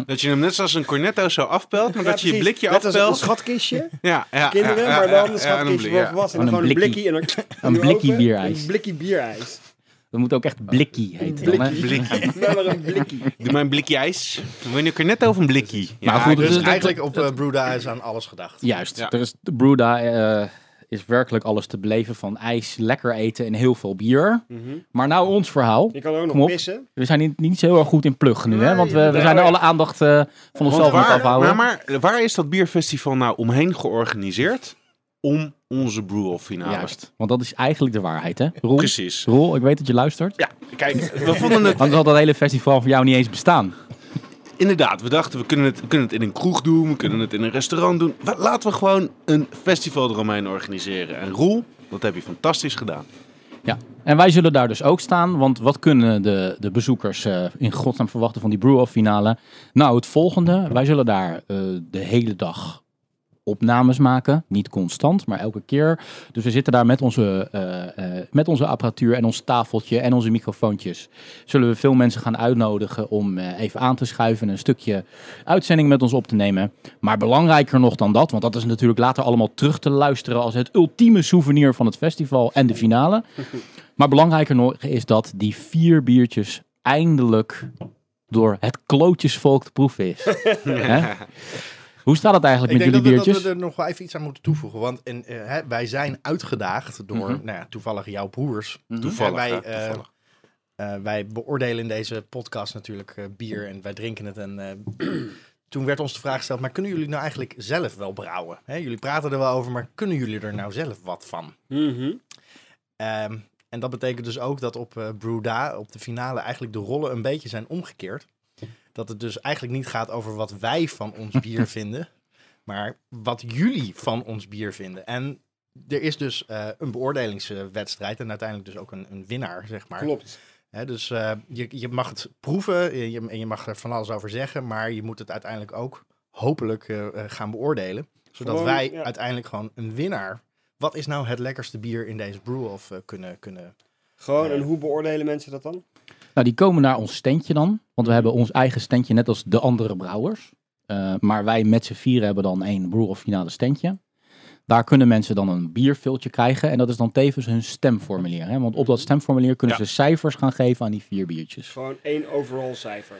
S2: Dat je hem net zoals een cornetto zo afpelt, maar
S4: Ja,
S2: dat je je
S4: precies.
S2: blikje
S4: Net als
S2: afpelt.
S4: een schatkistje.
S2: <laughs> Ja, ja,
S4: Kinderen,
S2: ja, ja,
S4: maar
S2: ja,
S4: dan een
S2: ja,
S4: schatkistje
S2: en een blik,
S4: voor
S2: ja.
S4: volwassenen.
S1: Gewoon
S4: Gewoon
S1: een
S4: een blikje en dan
S2: <laughs>
S1: Een
S4: doe je
S1: blikje
S4: open,
S1: bierijs.
S4: Een blikje bierijs.
S1: Dat moet ook echt blikkie heten. dan, hè?
S2: Blikkie.
S4: <laughs> Nou, maar een blikje.
S2: Doe mijn blikje ijs. Wil je een cornetto of een blikkie?
S1: Maar goed,
S3: Dus
S1: Dus dat-
S3: eigenlijk op eh Bruda is aan alles gedacht.
S1: Juist.
S2: Ja.
S1: Er is, de Bruda eh, is werkelijk alles te beleven van ijs, lekker eten en heel veel bier.
S4: Mhm.
S1: Maar nou ons verhaal.
S4: Je kan ook
S1: Kom
S4: nog
S1: op.
S4: pissen.
S1: We zijn niet, niet zo heel erg goed in pluggen nu, hè?
S4: Nee,
S1: Want we, we
S4: nee.
S1: zijn alle aandacht eh, van
S2: Want
S1: onszelf aan het
S2: waar,
S1: afhouden.
S2: maar, maar waar is dat bierfestival nou omheen georganiseerd? Om onze brew-off finale.
S1: Juist. Want dat is eigenlijk de waarheid, hè? Roel,
S2: Precies.
S1: Roel ik weet dat je luistert.
S2: Ja, kijk, we vonden het
S1: Anders had dat hele festival voor jou niet eens bestaan.
S2: inderdaad. We dachten, we kunnen het, we kunnen het in een kroeg doen, we kunnen het in een restaurant doen. Wa- Laten we gewoon een festival eromheen organiseren. En Roel, dat heb je fantastisch gedaan.
S1: Ja. En wij zullen daar dus ook staan. Want wat kunnen de, de bezoekers eh, in godsnaam verwachten van die brew-off finale? Nou, het volgende. Wij zullen daar eh, de hele dag opnames maken. Niet constant, maar elke keer. Dus we zitten daar met onze, eh, eh, met onze apparatuur en ons tafeltje en onze microfoontjes. Zullen we veel mensen gaan uitnodigen om eh, even aan te schuiven en een stukje uitzending met ons op te nemen. Maar belangrijker nog dan dat, want dat is natuurlijk later allemaal terug te luisteren als het ultieme souvenir van het festival en de finale. Maar belangrijker nog is dat die vier biertjes eindelijk door het klootjesvolk te proeven
S3: <laughs>
S1: is. Hè? Hoe staat het eigenlijk
S3: Ik
S1: met
S3: denk dat
S1: jullie
S3: we, dat
S1: biertjes?
S3: we er nog wel even iets aan moeten toevoegen. Want in, eh, hè, wij zijn uitgedaagd door
S1: Mhm.
S3: nou ja, toevallig jouw broers.
S2: Toevallig.
S3: wij,
S2: hè,
S3: eh,
S2: toevallig.
S3: Eh, wij beoordelen in deze podcast natuurlijk eh, bier en wij drinken het. En eh, toen werd ons de vraag gesteld, maar kunnen jullie nou eigenlijk zelf wel brouwen? Hè, jullie praten er wel over, maar kunnen jullie er nou zelf wat van?
S4: Mhm.
S3: Ehm, en dat betekent dus ook dat op eh Bruda, op de finale, eigenlijk de rollen een beetje zijn omgekeerd. Dat het dus eigenlijk niet gaat over wat wij van
S4: <laughs>
S3: ons bier vinden, maar wat jullie van ons bier vinden. En er is dus eh, een beoordelingswedstrijd en uiteindelijk dus ook een, een winnaar, zeg maar.
S4: Klopt.
S3: Hè, dus eh, je, je mag het proeven je, je- en je mag er van alles over zeggen, maar je moet het uiteindelijk ook hopelijk eh, eh, gaan beoordelen. Zodat
S4: Gewoon,
S3: wij
S4: ja.
S3: uiteindelijk gewoon een winnaar. Wat is nou het lekkerste bier in deze brew of eh, kunnen, kunnen?
S4: Gewoon, en hoe beoordelen mensen dat dan?
S1: Nou, die komen naar ons standje dan. Want we hebben ons eigen standje, net als de andere brouwers. Eh, maar wij met z'n vieren hebben dan één broer of finale standje. Daar kunnen mensen dan een bierviltje krijgen. En dat is dan tevens hun stemformulier. Hè? Want op dat stemformulier kunnen
S2: Ja.
S1: ze cijfers gaan geven aan die vier biertjes.
S4: Gewoon één overall cijfer.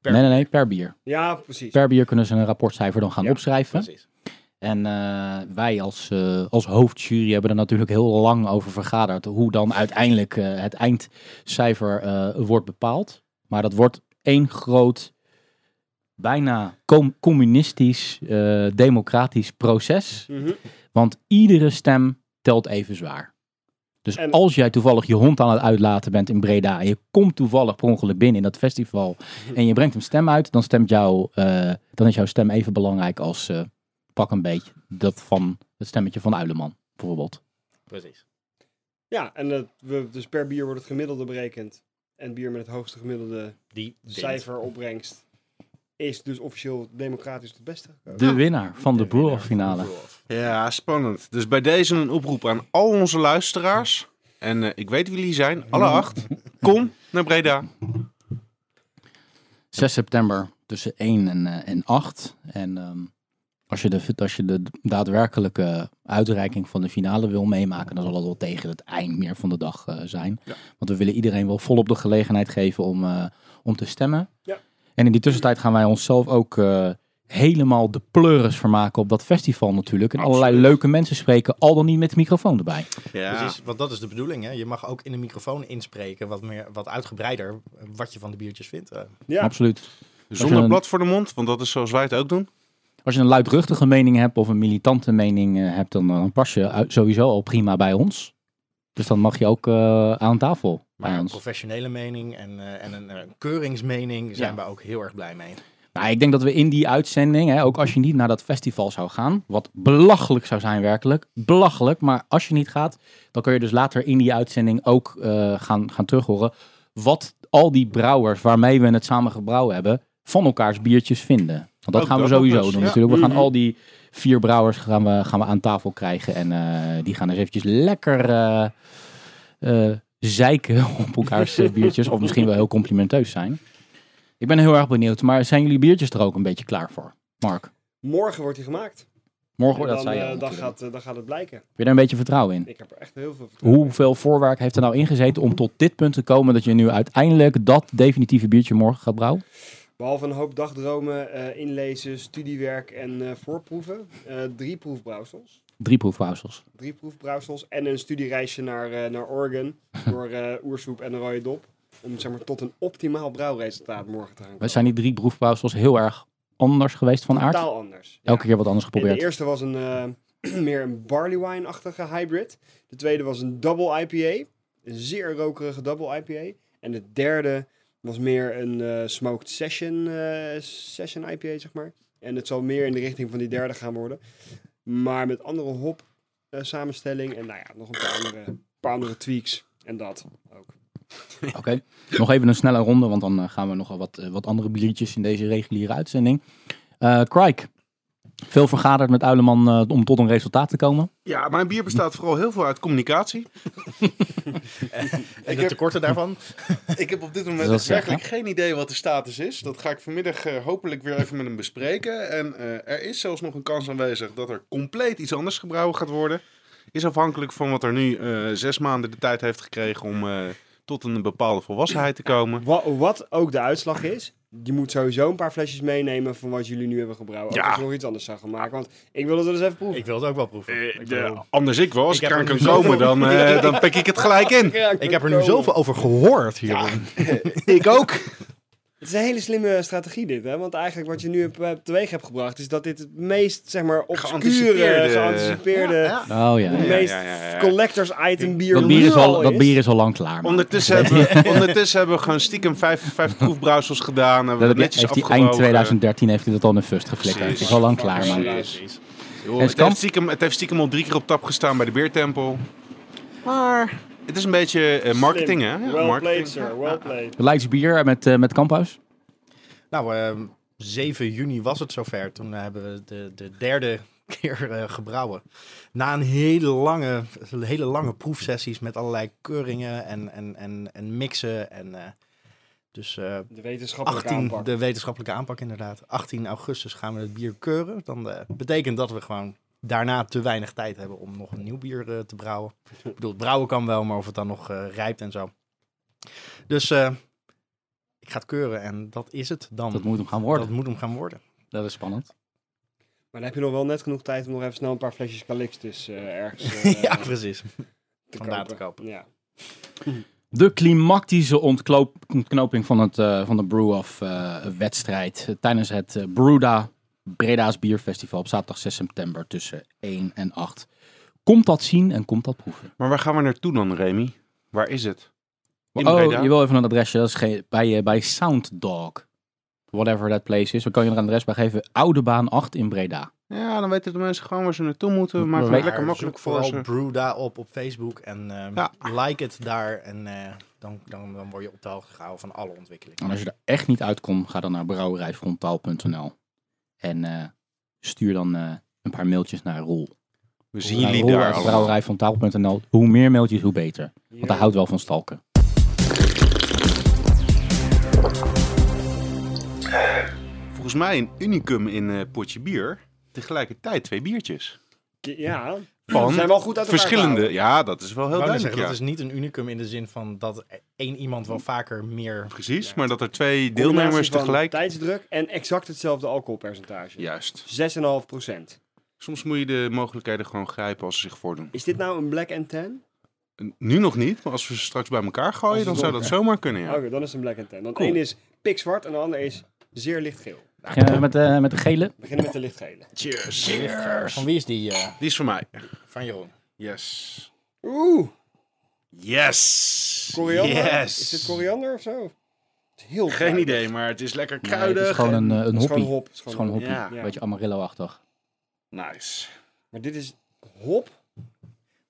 S3: Per-
S1: Nee, nee, nee, per bier.
S4: Ja, precies.
S1: Per bier kunnen ze een rapportcijfer dan gaan
S3: Ja,
S1: opschrijven.
S3: Precies.
S1: En eh, wij als, eh, als hoofdjury hebben er natuurlijk heel lang over vergaderd. Hoe dan uiteindelijk eh, het eindcijfer eh, wordt bepaald. Maar dat wordt één groot, bijna com- communistisch, eh, democratisch proces.
S4: Mhm.
S1: Want iedere stem telt even zwaar. Dus
S4: En-
S1: als jij toevallig je hond aan het uitlaten bent in Breda. en je komt toevallig per ongeluk binnen in dat festival. en je brengt een stem uit. dan, stemt jouw, eh, dan is jouw stem even belangrijk als. eh, pak een beetje dat van het stemmetje van Uileman, bijvoorbeeld.
S3: precies.
S4: Ja, en dat we, dus per bier wordt het gemiddelde berekend. En bier met het hoogste gemiddelde
S3: Die wint.
S4: cijferopbrengst is dus officieel democratisch het beste.
S1: De winnaar van de
S3: winnaar
S1: Brewer
S3: van de
S1: finale.
S3: brew off.
S2: Ja, spannend. Dus bij deze een oproep aan al onze luisteraars. En eh, ik weet wie jullie zijn, alle acht. Kom naar Breda.
S1: 6 september tussen 1 en, eh, en 8. En ehm, als, je de, als je de daadwerkelijke uitreiking van de finale wil meemaken, dan zal dat wel tegen het eind meer van de dag eh, zijn.
S2: Ja.
S1: Want we willen iedereen wel volop de gelegenheid geven om, eh, om te stemmen.
S4: Ja.
S1: En in die tussentijd gaan wij onszelf ook eh, helemaal de pleuris vermaken op dat festival natuurlijk. En allerlei
S2: Absoluut.
S1: leuke mensen spreken, al dan niet met de microfoon erbij.
S2: Ja.
S3: Precies, want dat is de bedoeling. Hè? Je mag ook in de microfoon inspreken, wat, meer, wat uitgebreider, eh, wat je van de biertjes vindt. eh.
S4: Ja,
S1: Absoluut. Als je
S2: Zonder
S1: een-
S2: blad voor de mond, want dat is zoals wij het ook doen.
S1: Als je een luidruchtige mening hebt of een militante mening eh, hebt, dan, dan pas je uit- sowieso al prima bij ons. Dus dan mag je ook eh, aan tafel bij
S3: Maar een
S1: ons.
S3: professionele mening en, eh, en een, eh, keuringsmening zijn
S1: Ja.
S3: we ook heel erg blij mee.
S1: Nou, ik denk dat we in die uitzending, hè, ook als je niet naar dat festival zou gaan, wat belachelijk zou zijn werkelijk, belachelijk, maar als je niet gaat, dan kun je dus later in die uitzending ook eh, gaan, gaan terughoren wat al die brouwers waarmee we het samen gebrouwen hebben, van elkaars biertjes vinden. Want dat
S2: Ook
S1: gaan we
S2: dat nog
S1: sowieso
S2: eens,
S1: doen
S2: ja. Mm-hmm.
S1: natuurlijk. We gaan
S4: Mhm.
S1: al die vier brouwers gaan we, gaan we aan tafel krijgen en eh, die gaan eens eventjes lekker... eh, eh, zeiken <laughs> op elkaars eh, biertjes. Of misschien wel heel complimenteus zijn. Ik ben heel erg benieuwd. Maar zijn jullie biertjes er ook een beetje klaar voor? Mark,
S4: morgen wordt hij gemaakt.
S1: morgen,
S4: En
S1: dat
S4: dan,
S1: zei je
S4: eh,
S1: al
S4: dan,
S1: natuurlijk.
S4: gaat, eh, dan gaat het blijken.
S1: Heb je daar een beetje vertrouwen in?
S4: Ik heb er echt heel veel vertrouwen in.
S1: Hoeveel voorwerk heeft er nou ingezeten om tot dit punt te komen dat je nu uiteindelijk dat definitieve biertje morgen gaat brouwen?
S4: Behalve een hoop dagdromen, eh, inlezen, studiewerk en eh, voorproeven. Eh, drie proefbrouwsels.
S1: Drie proefpauzels.
S4: Drie proefbrouwsels en een studiereisje naar, eh, naar Oregon door eh, oersoep en een rode dop. Om zeg maar, tot een optimaal brouwresultaat morgen te gaan komen.
S1: Zijn die drie proefpauzels heel erg anders geweest van aard?
S4: Totaal anders. Ja.
S1: Elke keer wat anders
S4: En de
S1: geprobeerd.
S4: eerste was een, eh, <clears throat> meer een barley wine-achtige hybrid. De tweede was een double IPA. Een zeer rokerige double IPA. En de derde was meer een eh, smoked session, eh, session IPA, zeg maar. En het zal meer in de richting van die derde gaan worden. Maar met andere hop eh, samenstelling en nou ja, nog een paar andere, paar andere tweaks. En dat ook.
S1: Oké. Nog even een snelle ronde, want dan eh, gaan we nogal wat, eh, wat andere biertjes in deze reguliere uitzending. Eh Crike, veel vergaderd met Uileman eh, om tot een resultaat te komen.
S2: Ja, mijn bier bestaat vooral heel veel uit communicatie.
S3: En de tekorten daarvan?
S2: Ik heb op dit
S1: Dat
S2: moment
S1: wil
S2: echt werkelijk geen idee wat de status is. Dat ga ik vanmiddag eh, hopelijk weer even met hem bespreken. En eh, er is zelfs nog een kans aanwezig dat er compleet iets anders gebrouwen gaat worden. Is afhankelijk van wat er nu eh, zes maanden de tijd heeft gekregen om eh, tot een bepaalde volwassenheid te komen.
S4: Wat, wat ook de uitslag is, je moet sowieso een paar flesjes meenemen van wat jullie nu hebben gebrouwen. Ook
S2: Ja.
S4: als je nog iets anders zou gaan maken, want ik wil het wel eens even proeven.
S3: Ik wil het ook wel proeven. ik, bedoel,
S2: Eh, anders ik wel, als
S3: Ik
S2: ik
S3: heb
S2: er
S3: er
S2: kan
S3: nu zoveel-
S2: komen, dan, <laughs> eh, dan pik ik het gelijk in.
S3: ik heb er nu zoveel over gehoord hier.
S2: <laughs> Ik ook.
S4: Het is een hele slimme strategie dit, hè? Want eigenlijk wat je nu hebt- hebt teweeg hebt gebracht, is dat dit het meest, zeg maar, obscure,
S2: Geanticipeerde.
S4: geanticipeerde, geanticipeerde
S1: Oh ja.
S4: het
S2: Ja,
S4: meest
S2: ja, ja, ja.
S4: collectors item bier
S1: Dat bier is
S4: nu
S1: al, dat bier is al lang klaar. man.
S2: Ondertussen hebben, <laughs> we, ondertussen hebben we gewoon stiekem vijf, vijf proefbrouwsels gedaan. Hebben
S1: Dat
S2: we
S1: heb je-
S2: netjes
S1: heeft hij
S2: afgewogen.
S1: eind 2013 heeft hij dat al in een fust geflikkerd. Het is al lang klaar, man.
S2: Precies. Joh,
S1: En
S2: het,
S1: Skamp?
S2: heeft stiekem, het heeft stiekem al drie keer op tap gestaan bij de Beertempel. Maar het is een beetje eh, marketing, hè? Ja,
S4: Well
S2: marketing.
S4: played, sir. Well played.
S1: Leids bier met, eh, met Kamphuis.
S3: Nou, ehm, 7 juni was het zover. Toen eh, hebben we de, de derde <laughs> keer eh, gebrouwen. Na een hele lange, hele lange proefsessies met allerlei keuringen en, en, en, en mixen. En, eh, dus eh,
S4: De wetenschappelijke
S3: 18,
S4: aanpak.
S3: de wetenschappelijke aanpak inderdaad. 18 augustus gaan we het bier keuren. Dan eh, betekent dat we gewoon daarna te weinig tijd hebben om nog een nieuw bier eh, te brouwen. Ik bedoel, het brouwen kan wel, maar of het dan nog eh, rijpt en zo. Dus eh, ik ga het keuren en dat is het dan.
S1: Dat moet hem gaan
S3: Dat
S1: worden.
S3: moet hem gaan worden.
S1: Dat is spannend.
S4: Maar dan heb je nog wel net genoeg tijd om nog even snel een paar flesjes Calixtus eh, ergens eh,
S3: <laughs> ja,
S4: te
S3: precies. vandaan te kopen.
S4: Ja.
S1: De klimactische ontloop- ontknoping van, het, eh, van de Brew-Off wedstrijd eh, tijdens het eh, Brewda Breda's Bierfestival op zaterdag 6 september tussen 1 en 8. Komt dat zien en komt dat proeven?
S2: Maar waar gaan we naartoe dan, Remy? Waar is het? In
S1: oh,
S2: Breda?
S1: je wil even een adresje. Dat is geen- bij, eh, bij Sound Dog. Whatever that place is. We kan je er een adres bij geven. Oude Baan 8 in Breda.
S2: Ja, dan weten de mensen gewoon waar ze naartoe moeten. We maken
S1: Maar
S2: het lekker makkelijk
S3: zoek
S2: voor
S3: vooral
S2: ze.
S3: Brewda op op Facebook en ehm,
S2: Ja.
S3: like het daar. En eh, dan, dan, dan word je op de hoogte gehouden van alle ontwikkelingen.
S1: En als je er echt niet uitkomt, ga dan naar brouwerijfrontaal.nl. En eh, stuur dan eh, een paar mailtjes naar Roel.
S2: We zien
S1: Naar
S2: jullie
S1: Roel
S2: daar
S1: at
S2: allemaal.
S1: brouwerijfrontaal.nl. Hoe meer mailtjes, hoe beter. Want hij
S4: Ja.
S1: houdt wel van stalken.
S2: Volgens mij een unicum in eh potje bier. Tegelijkertijd twee biertjes.
S4: Ja,
S2: van
S4: zijn wel goed uit elkaar
S2: verschillende. Ja, dat is wel heel
S3: Wou
S2: duidelijk.
S3: net zeggen,
S2: Ja.
S3: Dat is niet een unicum in de zin van dat e- één iemand wel vaker meer...
S2: Precies,
S4: Ja.
S2: maar dat er twee
S4: Combinatie
S2: deelnemers
S4: van
S2: tegelijk...
S4: Tijdsdruk en exact hetzelfde alcoholpercentage.
S2: Juist.
S4: 6,5 procent.
S2: Soms moet je de mogelijkheden gewoon grijpen als ze zich voordoen.
S4: Is dit nou een black and tan?
S2: En Nu nog niet, maar als we ze straks bij elkaar
S4: Als Oh,
S2: gooien,
S4: het
S2: dan zou
S4: door-
S2: dat zomaar kunnen,
S4: Oké,
S2: ja.
S4: dan is het een black and tan. Want
S1: Cool.
S4: één is pikzwart en de ander is zeer lichtgeel.
S1: Beginnen we met, eh, met de gele?
S4: We beginnen met de lichtgele.
S2: Cheers.
S3: Van wie is die? eh,
S2: Die is voor mij.
S3: van Jeroen.
S2: Yes.
S4: Oeh,
S2: Yes.
S4: koriander.
S2: Yes.
S4: Is dit koriander of zo? Het is Heel
S2: Geen
S4: kruidig.
S2: idee, maar het is lekker
S1: Nee, het
S2: kruidig.
S1: is gewoon een,
S2: en-
S1: eh, een
S4: Het is gewoon
S1: hoppie.
S4: hop. Het is
S1: Het is
S4: gewoon
S1: gewoon een hoppie.
S2: Ja.
S1: Een beetje Amarillo-achtig.
S2: Nice.
S4: Maar dit is hop.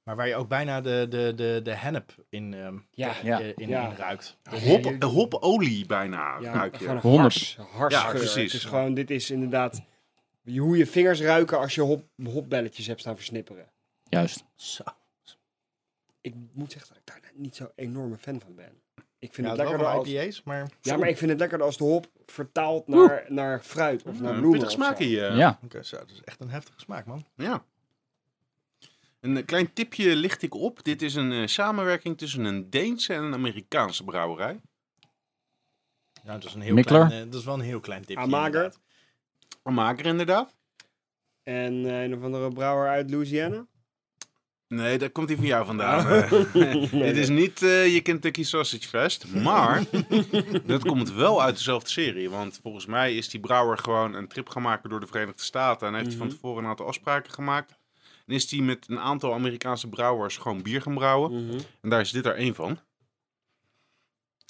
S3: Maar waar je ook bijna de, de, de, de hennep in, ehm,
S4: Ja.
S1: Ja.
S3: eh, in,
S4: Ja.
S3: in ruikt.
S2: Hop, hopolie bijna, ruik je.
S4: gewoon een
S1: Honderd.
S4: hars, hars
S2: Ja,
S4: geur.
S2: precies.
S4: Het is gewoon, dit is inderdaad je- hoe je vingers ruiken als je hop, hopbelletjes hebt staan versnipperen.
S1: Juist.
S3: Zo.
S4: Ik moet zeggen dat ik daar niet zo enorme fan van ben. Ik vind
S3: Ja,
S4: het
S3: het wel
S4: lekkerder
S3: van
S4: als,
S3: IPA's, maar...
S4: ja, maar ik vind het lekkerder als de hop vertaalt naar, naar fruit of naar
S2: Een
S4: bloemen.
S2: Mm. pittig
S4: of zo.
S2: smaakje.
S1: Ja.
S2: eh.
S3: Oké, zo, dat is echt een heftige smaak, man.
S2: Ja. Een eh, klein tipje licht ik op. Dit is een eh, samenwerking tussen een Deense en een Amerikaanse brouwerij.
S3: Ja, dat is, een heel
S1: Mikkeler?
S3: klein, eh, dat is wel een heel klein tipje.
S4: Amager?
S3: inderdaad.
S2: Een maker inderdaad.
S4: En eh, een of andere brouwer uit Louisiana.
S2: Nee, dat komt hij van jou vandaan. eh. Dit is niet eh, je Kentucky Sausage Fest, maar dat komt wel uit dezelfde serie. Want volgens mij is die brouwer gewoon een trip gaan maken door de Verenigde Staten. En heeft hij van
S4: Mhm.
S2: tevoren een aantal afspraken gemaakt. En is hij met een aantal Amerikaanse brouwers gewoon bier gaan brouwen.
S4: Mhm,
S2: En daar is dit er één van.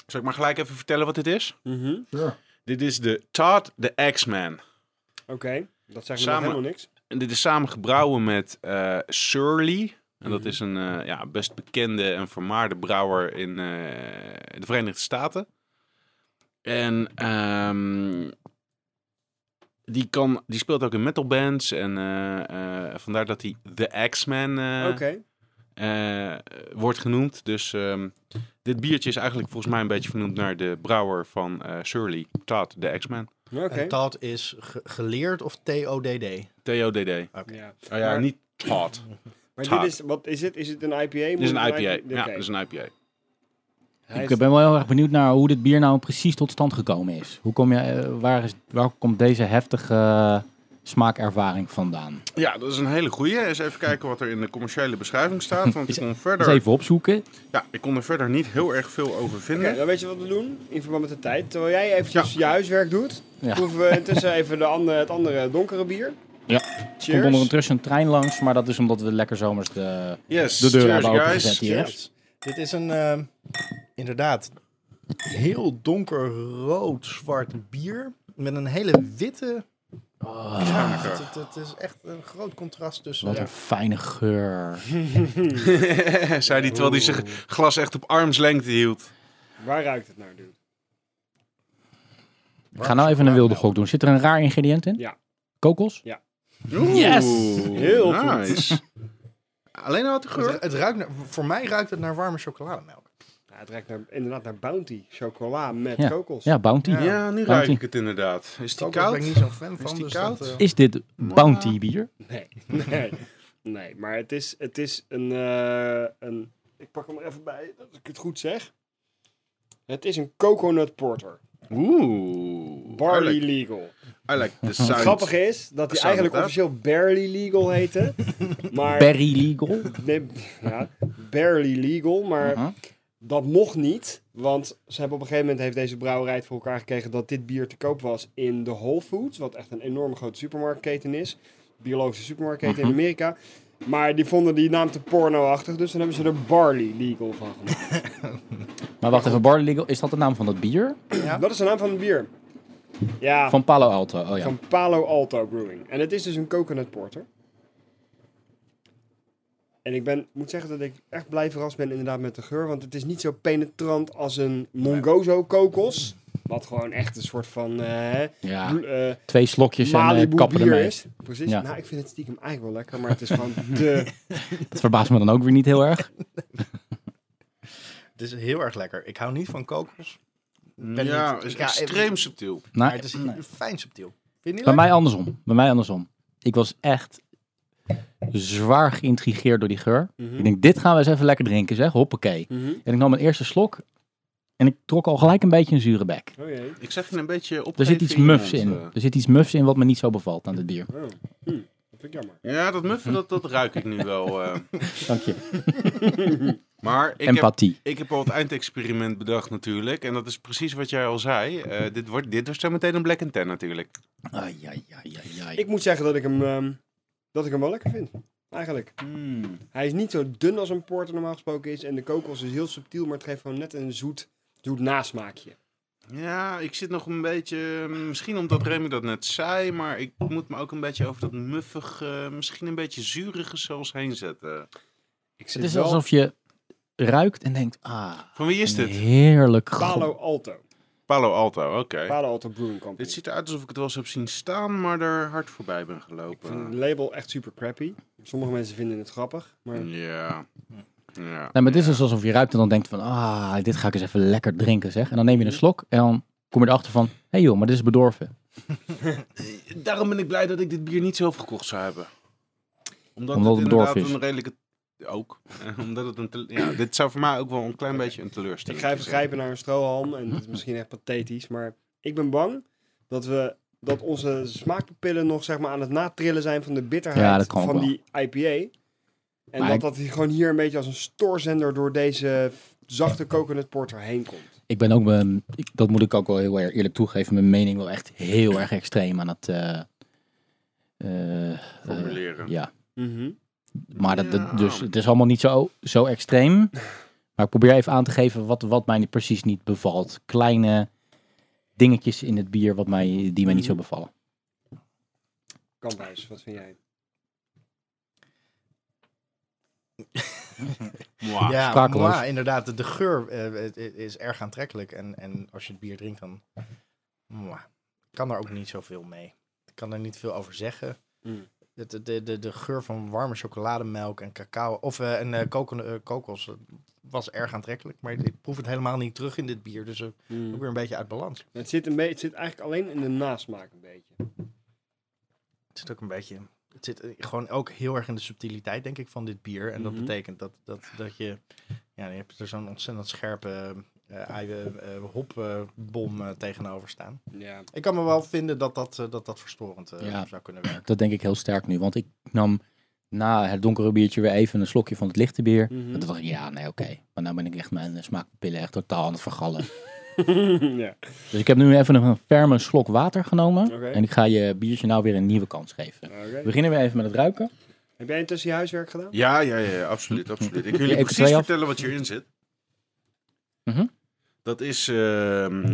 S2: Zal ik maar gelijk even vertellen wat dit is?
S4: mhm.
S2: Dit is de Todd the X-Man.
S4: Oké, dat zegt me nog
S2: Samen-
S4: helemaal niks.
S2: En dit is samen gebrouwen met eh Surly. En
S4: Mhm.
S2: dat is een eh, ja, best bekende en vermaarde brouwer in eh, de Verenigde Staten. En ehm, die, kan, die speelt ook in metalbands. En eh, eh, vandaar dat hij The X-Man eh,
S4: Oké,
S2: eh, wordt genoemd. Dus ehm, dit biertje is eigenlijk volgens mij een beetje vernoemd naar de brouwer van eh, Surly. Todd the X-Man.
S4: oké.
S3: En dat is ge- geleerd of TODD?
S2: T-O-D-D.
S4: Ja.
S2: Oh ja,
S4: Ah. Maar-
S2: niet Todd.
S4: Maar dit
S2: Taart.
S4: is, wat is het? Is het een IPA?
S2: Dit
S4: Moet
S2: is
S4: het
S2: een IPA.
S4: Oké.
S2: Ja, dus- dit is een IPA.
S4: Hij
S1: ik
S4: is-
S1: ben wel heel erg benieuwd naar hoe dit bier nou precies tot stand gekomen is. Hoe kom je, eh, waar, is, waar komt deze heftige eh, smaakervaring vandaan?
S2: Ja, dat is een hele goeie. Eens even kijken wat er in de commerciële beschrijving staat. Want ik kon
S1: Eens
S2: verder,
S1: even opzoeken.
S2: ja, ik kon er verder niet heel erg veel over
S4: Oké,
S2: vinden.
S4: dan weet je wat we doen in verband met de tijd. Terwijl jij eventjes je huiswerk doet,
S1: Ja.
S4: proeven we intussen even de andere, het andere donkere bier.
S1: Ja. Er komt
S4: Cheers.
S1: ondertussen een trein langs, maar dat is omdat we lekker zomers de,
S2: Yes,
S1: de deur
S2: cheers
S1: hebben
S2: guys.
S1: opengezet hier. hè?
S3: Yes. Dit is een ehm, inderdaad heel donker rood-zwart bier met een hele witte.
S1: Oh,
S3: smaak.
S2: lekker.
S3: Het, het, het is echt een groot contrast tussen.
S1: wat een fijne geur.
S2: <laughs> Zei hij terwijl hij zijn glas echt op armslengte hield.
S4: Waar ruikt het naar, dude?
S1: Ik ga nou even een wilde gok doen. Zit er een raar ingrediënt in?
S4: Ja.
S1: Kokos?
S2: yes!
S4: Heel goed.
S2: nice. Alleen al wat de geur.
S3: Het, het ruikt naar- voor mij ruikt het naar warme chocolademelk.
S4: Ja, Nou, het ruikt naar, inderdaad naar Bounty, chocola met kokos.
S1: Ja, Bounty.
S3: Ja.
S2: Ja, nu ruik ik het inderdaad. Is die
S3: Kokos ben
S2: koud?
S3: ik niet zo'n fan van.
S2: die
S3: dus
S2: koud?
S3: Dat, eh,
S1: Is dit Bounty bier?
S4: Nee, nee. nee, maar het is, het is een, eh, een... Ik pak hem er even bij, dat ik het goed zeg. Het is een coconut porter.
S2: Oeh. I
S4: Barley
S2: like,
S4: legal.
S2: I like the sound.
S4: Het grappige is dat hij
S2: Sound of
S4: eigenlijk
S2: that.
S4: officieel barely legal heette. maar
S1: Berry Legal?
S4: Nee, ja, barely legal, maar
S1: Mhm.
S4: dat mocht niet. Want ze hebben op een gegeven moment heeft deze brouwerij het voor elkaar gekregen dat dit bier te koop was in de Whole Foods, wat echt een enorme grote supermarktketen is. Biologische supermarktketen in Amerika. Maar die vonden die naam te porno-achtig, dus dan hebben ze er barley legal van gemaakt.
S1: Maar wacht even, Barley Legal, is dat de naam van dat bier?
S4: Dat is de naam van het bier. Ja, van,
S1: Van Palo Alto, oh ja.
S4: Palo Alto Brewing. En het is dus een coconut porter. En ik ben, moet zeggen dat ik echt blij verrast ben inderdaad met de geur. Want het is niet zo penetrant als een Mongozo kokos. Wat gewoon echt een soort van eh,
S1: ja.
S4: bl- eh,
S1: Twee slokjes en eh,
S4: Malibu
S1: kappen
S4: bier
S1: ermee.
S4: is. Precies.
S1: Ja.
S4: Nou, ik vind het stiekem eigenlijk wel lekker. Maar het is gewoon <laughs> de...
S1: Dat verbaast me dan ook weer niet heel erg.
S3: het is heel erg lekker. Ik hou niet van kokos, ben
S2: Ja,
S3: niet-
S2: is
S3: Ja,
S2: extreem subtiel.
S1: Nou,
S3: maar het is
S1: nee.
S3: fijn subtiel. Vind je niet
S1: Bij
S3: lekker?
S1: mij andersom. Bij mij andersom. Ik was echt zwaar geïntrigeerd door die geur.
S4: Mhm.
S1: Ik denk, dit gaan we eens even lekker drinken, zeg. Hoppakee.
S4: Mhm.
S1: En ik nam mijn eerste slok en ik trok al gelijk een beetje een zure bek.
S4: Oh jee.
S2: Ik zeg je een beetje eh, op.
S1: Er zit iets muffs in. Er zit iets muffs in wat me niet zo bevalt aan dit bier.
S4: Oh. Hm. Dat vind ik jammer.
S2: Ja, dat muffen, dat, dat ruik ik nu wel. eh.
S1: Dank je.
S2: Maar ik heb,
S1: Empathie.
S2: ik heb al het eindexperiment bedacht natuurlijk. En dat is precies wat jij al zei. Eh, dit, wordt, dit wordt zo meteen een Black and Tan natuurlijk.
S1: Ai, ai, ai, ai, ai.
S4: Ik moet zeggen dat ik hem, ehm, dat ik hem wel lekker vind. Eigenlijk. Hij is niet zo dun als een porter normaal gesproken is. En de kokos is heel subtiel, maar het geeft gewoon net een zoet, zoet nasmaakje.
S2: Ja, ik zit nog een beetje... eh, Misschien omdat Remy dat net zei, maar ik moet me ook een beetje over dat muffige, misschien een beetje zurige zelfs heen zetten.
S4: Ik
S1: Het
S4: zit
S1: is
S4: wel
S1: alsof je ruikt en denkt, ah,
S2: Van wie is
S1: een
S2: dit?
S1: heerlijk gro-
S4: Palo Alto.
S2: Palo Alto, oké.
S4: Palo Alto Brewing Company.
S2: Dit ziet eruit alsof ik het wel eens heb zien staan, maar er hard voorbij ben
S4: Ik vind
S2: gelopen.
S4: het label echt super crappy. Sommige mensen vinden het grappig, maar
S2: Mm. Ja. ja.
S1: Nee, maar het is dus alsof je ruikt en dan denkt van, ah, dit ga ik eens even lekker drinken, zeg. En dan neem je een slok en dan kom je erachter van, hé hey joh, maar dit is bedorven.
S2: Daarom ben ik blij dat ik dit bier niet zelf gekocht zou hebben. Omdat,
S1: Omdat
S2: het
S1: het
S2: inderdaad
S1: bedorven is.
S2: een redelijke... Ook. <laughs> Eh, Omdat het een tele- ja, dit zou voor mij ook wel een klein beetje een
S4: ik
S2: teleurstelling
S4: ga even
S2: zijn.
S4: grijpen naar een strohalm. En dat is misschien echt pathetisch, maar ik ben bang dat we dat onze smaakpapillen nog zeg maar aan het natrillen zijn van de bitterheid
S1: Ja, dat kan ook
S4: van
S1: wel.
S4: die IPA. En
S1: Maar
S4: dat
S1: ik-
S4: dat hier gewoon hier een beetje als een stoorzender door deze zachte coconut porter heen komt.
S1: Ik ben ook, mijn, ik- dat moet ik ook wel heel eerlijk toegeven, mijn mening wel echt heel erg extreem aan het... eh, eh, eh,
S2: Formuleren.
S1: ja,
S4: Mhm.
S1: maar dat, dat-
S2: Ja.
S1: dus, het is allemaal niet zo, zo
S2: <laughs>
S1: extreem. Maar ik probeer even aan te geven wat, wat mij niet- precies niet bevalt. Kleine dingetjes in het bier wat mij, die mij niet
S2: Mhm.
S1: zo bevallen.
S4: Kamphuis, wat vind jij?
S2: Mwah.
S3: ja,
S1: sprakeloos.
S3: maar inderdaad. De, de geur eh, het- het is erg aantrekkelijk. En, en als je het bier drinkt, dan mwah, Ik kan er ook niet zoveel mee. Ik kan er niet veel over zeggen.
S4: Mm.
S3: De, de, de, de, de geur van warme chocolademelk en cacao of eh, en, eh, kokon- eh, kokos eh, was erg aantrekkelijk. Maar ik proef het helemaal niet terug in dit bier. Dus eh,
S4: Mm.
S1: Mhm.
S3: ook weer een beetje uit balans.
S4: Het, zit een beetje, het zit eigenlijk alleen in de nasmaak een beetje.
S3: Het zit ook een beetje. Het zit eh, gewoon ook heel erg in de subtiliteit, denk ik, van dit bier. En
S4: Mhm.
S3: dat betekent dat, dat, dat je. Ja, je hebt er zo'n ontzettend scherpe eh eiwe- eh, hopbom eh, tegenover staan.
S4: Ja.
S3: Ik kan me wel vinden dat dat, eh, dat, dat verstorend eh,
S1: Ja.
S3: zou kunnen werken.
S1: Dat denk ik heel sterk nu. Want ik nam na het donkere biertje weer even een slokje van het lichte bier.
S4: Mhm.
S1: En toen dacht
S4: Mm.
S1: ik, ja, nee, oké. Maar nou ben ik echt mijn eh, smaakpillen echt totaal aan het vergallen. <laughs>
S4: <laughs> ja.
S1: dus ik heb nu even een ferme slok water genomen.
S4: Oké.
S1: En ik ga je biertje nou weer een nieuwe kans geven.
S4: Oké. Oh,
S1: We beginnen weer even met het ruiken.
S4: Heb jij intussen je huiswerk gedaan?
S2: Ja, ja, ja, ja, absoluut, absoluut. Ik wil jullie
S1: Even
S2: precies
S1: twee af.
S2: vertellen wat hierin zit.
S1: Mhm.
S2: Dat is... ehm,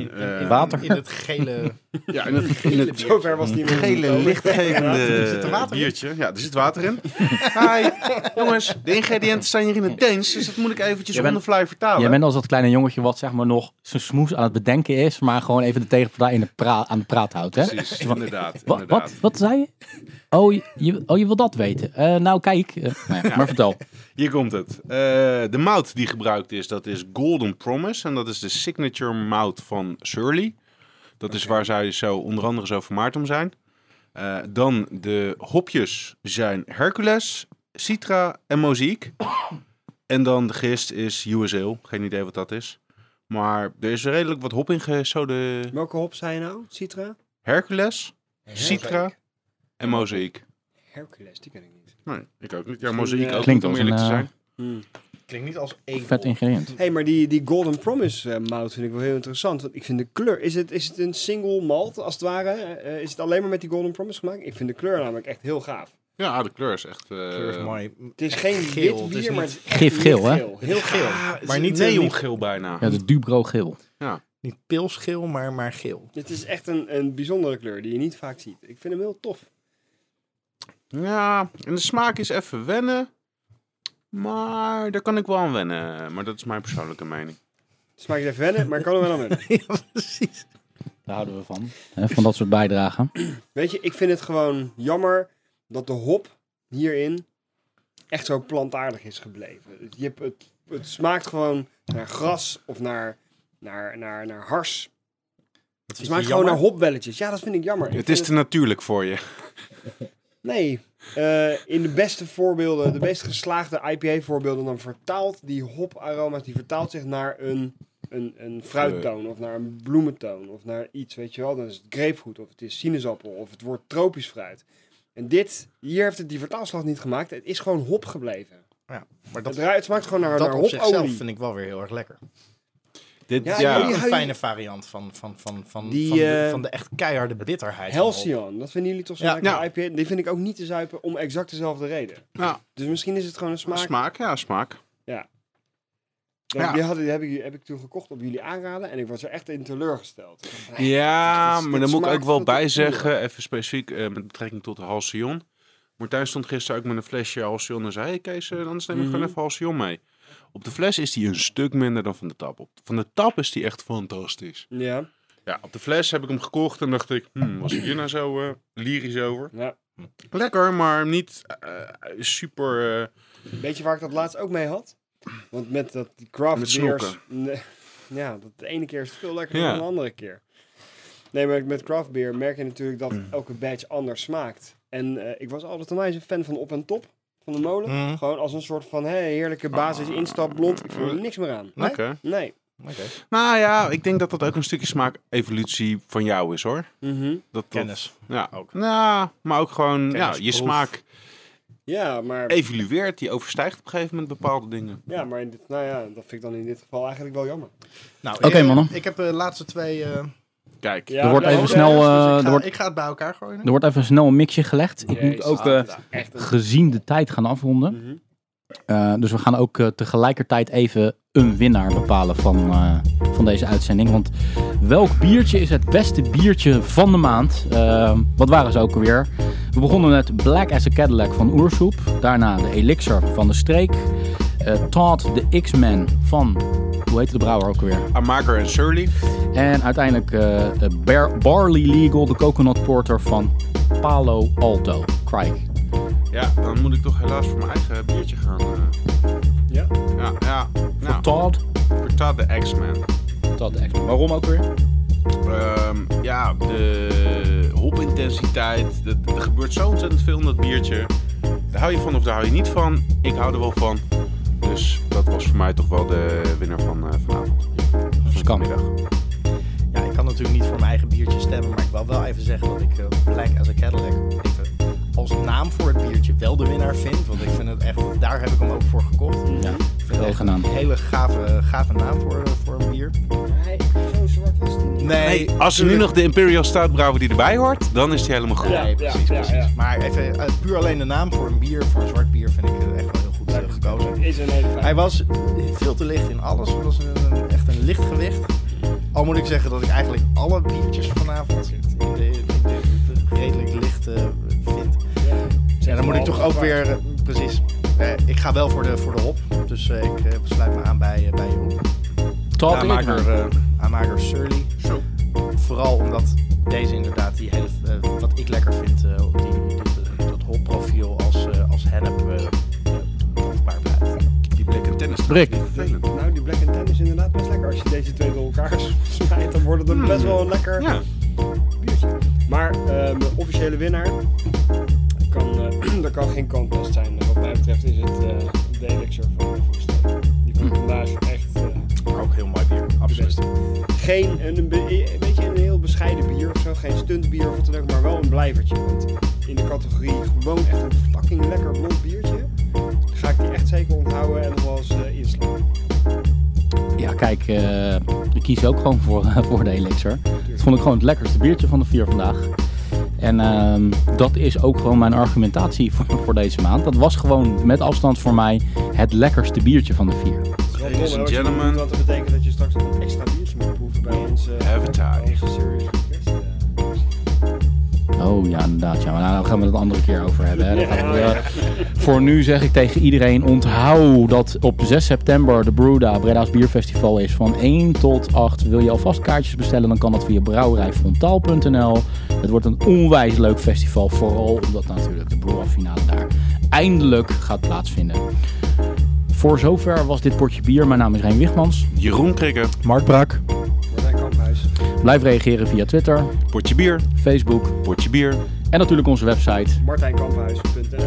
S3: Eh,
S2: ehm,
S1: water.
S3: In het <laughs> gele.
S2: Ja, in het, in
S4: <laughs>
S2: het
S4: Zover was het niet meer.
S2: gele
S4: gekomen.
S2: lichtgevende
S3: zit er water in?
S2: biertje. Ja, er zit water in. Hi, jongens. De ingrediënten staan hier in het Deens, dus dat moet ik eventjes
S1: Jij bent-
S2: on the fly vertalen.
S1: Jij bent als dat kleine jongetje wat zeg maar nog zijn smoes aan het bedenken is. Maar gewoon even de tegenpartij in de pra- aan de praat houdt. Hè?
S2: Precies, inderdaad,
S1: Wat,
S2: inderdaad.
S1: wat, wat zei je? Oh, je, oh, je wil dat weten. Eh, nou, kijk. Eh, nou ja, maar
S4: <laughs>
S1: vertel.
S2: Hier komt het. Eh, de mout die gebruikt is, dat is Golden Promise. En dat is de signature mout van Surly. Dat is waar zij zo, onder andere zo vermaard om zijn. Eh, dan de hopjes zijn Hercules, Citra en Moziek. en dan de gist is USL. Geen idee wat dat is. Maar er is redelijk wat hop in gezoden.
S4: Welke hop zei je nou? Citra?
S2: Hercules, Citra en Mozaïek.
S4: Hercules, die ken ik niet.
S2: Nee, ik ook niet. Ja, Mozaïek
S4: eh,
S2: ook
S1: Klinkt
S2: niet,
S1: als
S2: om
S1: een,
S2: eerlijk te
S1: eh,
S2: zijn.
S3: Klinkt niet als één.
S1: Vet
S3: hop.
S1: ingrediënt.
S4: hey, maar die, die Golden Promise eh, mout vind ik wel heel interessant. Want ik vind de kleur... Is het, is het een single malt, als het ware? Eh, is het alleen maar met die Golden Promise gemaakt? Ik vind de kleur namelijk echt heel gaaf.
S2: Ja, de kleur is echt... eh,
S3: De kleur is mooi.
S4: Het is geen
S3: Geel,
S4: wit
S3: het
S4: bier,
S3: is niet-
S4: maar Ah, het is echt
S1: Gifgeel, hè?
S4: lichtgeel. Heel geel.
S3: maar niet, eh,
S2: neongeel bijna.
S1: Ja, de Dubro geel.
S3: Niet pilsgeel, maar, maar geel.
S4: Het is echt een, een bijzondere kleur die je niet vaak ziet. Ik vind hem heel tof.
S2: Ja, en de smaak is even wennen. Maar daar kan ik wel aan wennen. Maar dat is mijn persoonlijke mening.
S4: Het smaakt even wennen, maar ik kan er wel aan wennen.
S3: ja, precies.
S1: Daar houden we van. Hè, Eh, van dat soort bijdragen.
S4: Weet je, ik vind het gewoon jammer dat de hop hierin echt zo plantaardig is gebleven. Je hebt het, het smaakt gewoon naar gras of naar, naar, naar, naar hars. Het smaakt gewoon naar hopbelletjes. Ja, dat vind ik jammer. Ik
S2: Het
S4: vind
S2: is te natuurlijk voor je.
S4: Nee, eh, in de beste voorbeelden, de meest geslaagde IPA-voorbeelden, dan vertaalt die hoparoma's, die vertaalt zich naar een, een, een fruittoon of naar een bloementoon of naar iets, weet je wel. Dan is het grapefruit of het is sinaasappel of het wordt tropisch fruit. En dit, hier heeft het die vertaalslag niet gemaakt. Het is gewoon hop gebleven.
S3: Maar
S4: Het,
S3: dat,
S4: ruikt, het smaakt gewoon naar,
S3: dat
S4: naar
S3: op zichzelf
S4: hopolie.
S3: vind ik wel weer heel erg lekker.
S2: <laughs> Dit,
S4: Ja,
S2: ja,
S4: ik
S3: Ook
S4: weet
S3: een
S4: Ja, je-
S3: fijne variant van, van, van, van,
S4: Die,
S3: van, de,
S4: eh,
S3: van de echt keiharde bitterheid. van hop.
S4: Halcyon, dat vinden jullie toch zo
S3: Ja. nou.
S4: lekker
S2: Ja.
S4: IPA? Die vind ik ook niet te zuipen om exact dezelfde reden.
S2: nou,
S4: Dus misschien is het gewoon een smaak.
S2: smaak, ja, smaak.
S4: Die-
S2: Ja.
S4: Die, had, die heb, ik, heb ik toen gekocht op jullie aanraden en ik was er echt in teleurgesteld. Ik dacht, nee,
S2: Ja,
S4: dit- dit
S2: maar dan moet ik
S4: smaakt
S2: ook wel
S4: veel te
S2: bij
S4: puur.
S2: zeggen, even specifiek eh, met betrekking tot de Halcyon. Martijn stond gisteren ook met een flesje Halcyon en zei, hey Kees, eh, anders neem ik
S4: Mhm.
S2: gewoon even Halcyon mee. Op de fles is die een stuk minder dan van de tap. Op, van de tap is die echt fantastisch.
S4: Ja,
S2: Ja, op de fles heb ik hem gekocht en dacht ik, hmm, was ik hier nou zo eh, lyrisch over?
S4: ja.
S2: Lekker, maar niet eh, super... eh,
S4: Weet je waar ik dat laatst ook mee had? Want met dat die craft
S2: Met
S4: beers... Nee, ja, dat de ene keer is het veel lekkerder
S2: Ja.
S4: dan de andere keer. Nee, maar met craft beer merk je natuurlijk dat elke batch anders smaakt. En eh, ik was altijd onwijs een fan van op en top van de molen.
S3: Mm.
S4: Gewoon als een soort van hey, heerlijke basis instap blond. Ik voel er niks meer aan.
S3: Nee?
S2: Oké.
S4: Nee.
S3: Oké.
S2: Nou ja, ik denk dat dat ook een stukje smaak-evolutie van jou is hoor.
S4: Mhm.
S2: Dat, dat-
S3: Kennis.
S2: Ja,
S3: ook.
S2: Nou, maar ook gewoon, ja,
S3: Kennis,
S2: je
S3: proef.
S2: smaak
S4: Ja, maar...
S2: evolueert, die overstijgt op een gegeven moment bepaalde dingen.
S4: Ja, maar in dit, nou ja, dat vind ik dan in dit geval eigenlijk wel jammer.
S3: Nou,
S1: Oké,
S3: ik-
S1: mannen.
S3: Ik heb de laatste twee... eh
S2: Kijk,
S4: Ja,
S1: Er wordt
S4: nou,
S1: even
S4: oké.
S1: snel, eh,
S3: dus ik,
S1: er
S3: ga,
S1: wordt-
S3: ik ga het bij elkaar gooien.
S1: Er wordt even snel een mixje gelegd. Ik moet
S4: Jezus,
S1: ook
S4: dat
S1: eh,
S4: is echt een...
S1: gezien de tijd gaan afronden.
S4: Mhm.
S1: Eh, dus we gaan ook eh, tegelijkertijd even een winnaar bepalen van, eh, van deze uitzending. Want welk biertje is het beste biertje van de maand? Eh, wat waren ze ook alweer? We begonnen met Black as a Cadillac van Oersoep. Daarna de Elixir van de Streek. eh Todd de X-Men van, hoe heet de brouwer ook alweer?
S2: Amaker en Surly.
S1: En uiteindelijk eh, de Bar- Barley Legal, de Coconut Porter van Palo Alto. Craig.
S2: Ja, dan moet ik toch helaas voor mijn eigen biertje gaan. eh.
S4: Ja?
S2: ja, ja. Nou,
S1: Todd.
S2: Cortad de X-Man.
S1: Todd de X-Men. Waarom ook weer?
S2: Ehm, ja, de hopintensiteit. dat- Er gebeurt zo ontzettend veel in dat biertje. Daar hou je van of daar hou je niet van. Ik hou er wel van. Dus dat was voor mij toch wel de winnaar van eh, vanavond.
S1: Dat kan.
S2: Vanmiddag.
S3: Ja, ik kan natuurlijk niet voor mijn eigen biertje stemmen, maar ik wil wel even zeggen dat ik eh, Black as a Cadillac even als naam voor het biertje wel de winnaar vind. Want ik vind het echt, daar heb ik hem ook voor gekocht.
S1: Ja,
S3: Ik vind het
S1: wel
S3: echt
S1: gedaan.
S3: Een hele gave, gave naam voor, eh, voor een bier.
S4: Nee, zo zwart was het niet.
S3: Nee,
S2: Hey, als er nu nog de Imperial Stout brouwen die erbij hoort, dan is die helemaal goed.
S4: Ja,
S3: Nee, precies,
S4: ja,
S3: precies.
S4: ja.
S3: Maar even, eh, puur alleen de naam voor een bier, voor een zwart bier, vind ik eh, echt wel heel goed eh, gekozen.
S4: Is een hele fijne.
S3: Hij was veel te licht in alles. Hij was een- een- echt een licht gewicht. Al moet ik zeggen dat ik eigenlijk alle biertjes vanavond in de, in de- redelijk licht eh, vind.
S4: Ja.
S3: En dan moet ik toch ook
S4: Zwaar.
S3: weer... eh, precies. Eh, ik ga wel voor de, voor de hop. Dus eh, ik eh, sluit me aan bij, eh, bij Jeroen.
S1: Todd de X-Men.
S3: Aanmaker, eh, aanmaker Surly.
S2: Zo.
S3: Vooral omdat deze inderdaad die hele... eh, wat ik lekker vind, eh, die, die- dat- dat hopprofiel als, eh, als hennep eh, eh, proefbaar blijft.
S2: Die blik en tennis.
S1: Brik.
S2: Vervelend.
S4: Nou, die Black Ten is inderdaad best lekker. Als je deze twee door elkaar <laughs> smijt, dan wordt het een best wel een lekker
S2: Ja.
S4: biertje. Maar eh, mijn officiële winnaar, dat kan, eh, <clears throat> dat kan geen contest zijn. Wat mij betreft is het eh de Elixir van de Voegsteen. Die vond ik vandaag echt... eh,
S3: Ook heel mooi bier, absoluut.
S4: geen, een, een, be- een beetje een heel bescheiden bier of zo, geen stuntbier of wat dan ook, maar wel een blijvertje. Want in de categorie gewoon echt een fucking lekker blond biertje, ga ik die echt zeker onthouden en nog wel eens eh, inslaan.
S1: Ja, kijk, eh, ik kies ook gewoon voor, <laughs> voor de Elixir. Dat vond ik gewoon het lekkerste biertje van de vier vandaag. En ehm, dat is ook gewoon mijn argumentatie <laughs> voor, voor deze maand. Dat was gewoon met afstand voor mij het lekkerste biertje van de vier.
S4: Dat is wel
S2: Ladies
S4: dom, hè,
S2: and gentlemen.
S4: wat je nu doet, want dat betekent dat je straks nog een extra biertje moet proeven bij ons. eh, bij
S2: Advertise.
S4: onze serious request. eh.
S1: Oh ja, inderdaad. Ja, maar daar gaan we het een andere keer over hebben. Hè. Dat
S4: Ja,
S1: gaan we,
S4: ja.
S1: eh, Voor nu zeg ik tegen iedereen: onthoud dat op 6 september de Brewda Breda's Bierfestival is. Van 1 tot 8 wil je alvast kaartjes bestellen, dan kan dat via brouwerijfrontaal.nl. Het wordt een onwijs leuk festival, vooral omdat natuurlijk de Brewda finale daar eindelijk gaat plaatsvinden. Voor zover was dit potje bier. Mijn naam is Rijn Wichmans.
S2: Jeroen Krikke.
S6: Mark Brak.
S4: Martijn Kamphuis.
S1: Blijf reageren via Twitter,
S2: Potje bier.
S1: Facebook
S2: Potje bier.
S1: En natuurlijk onze website
S4: martijnkamphuis.nl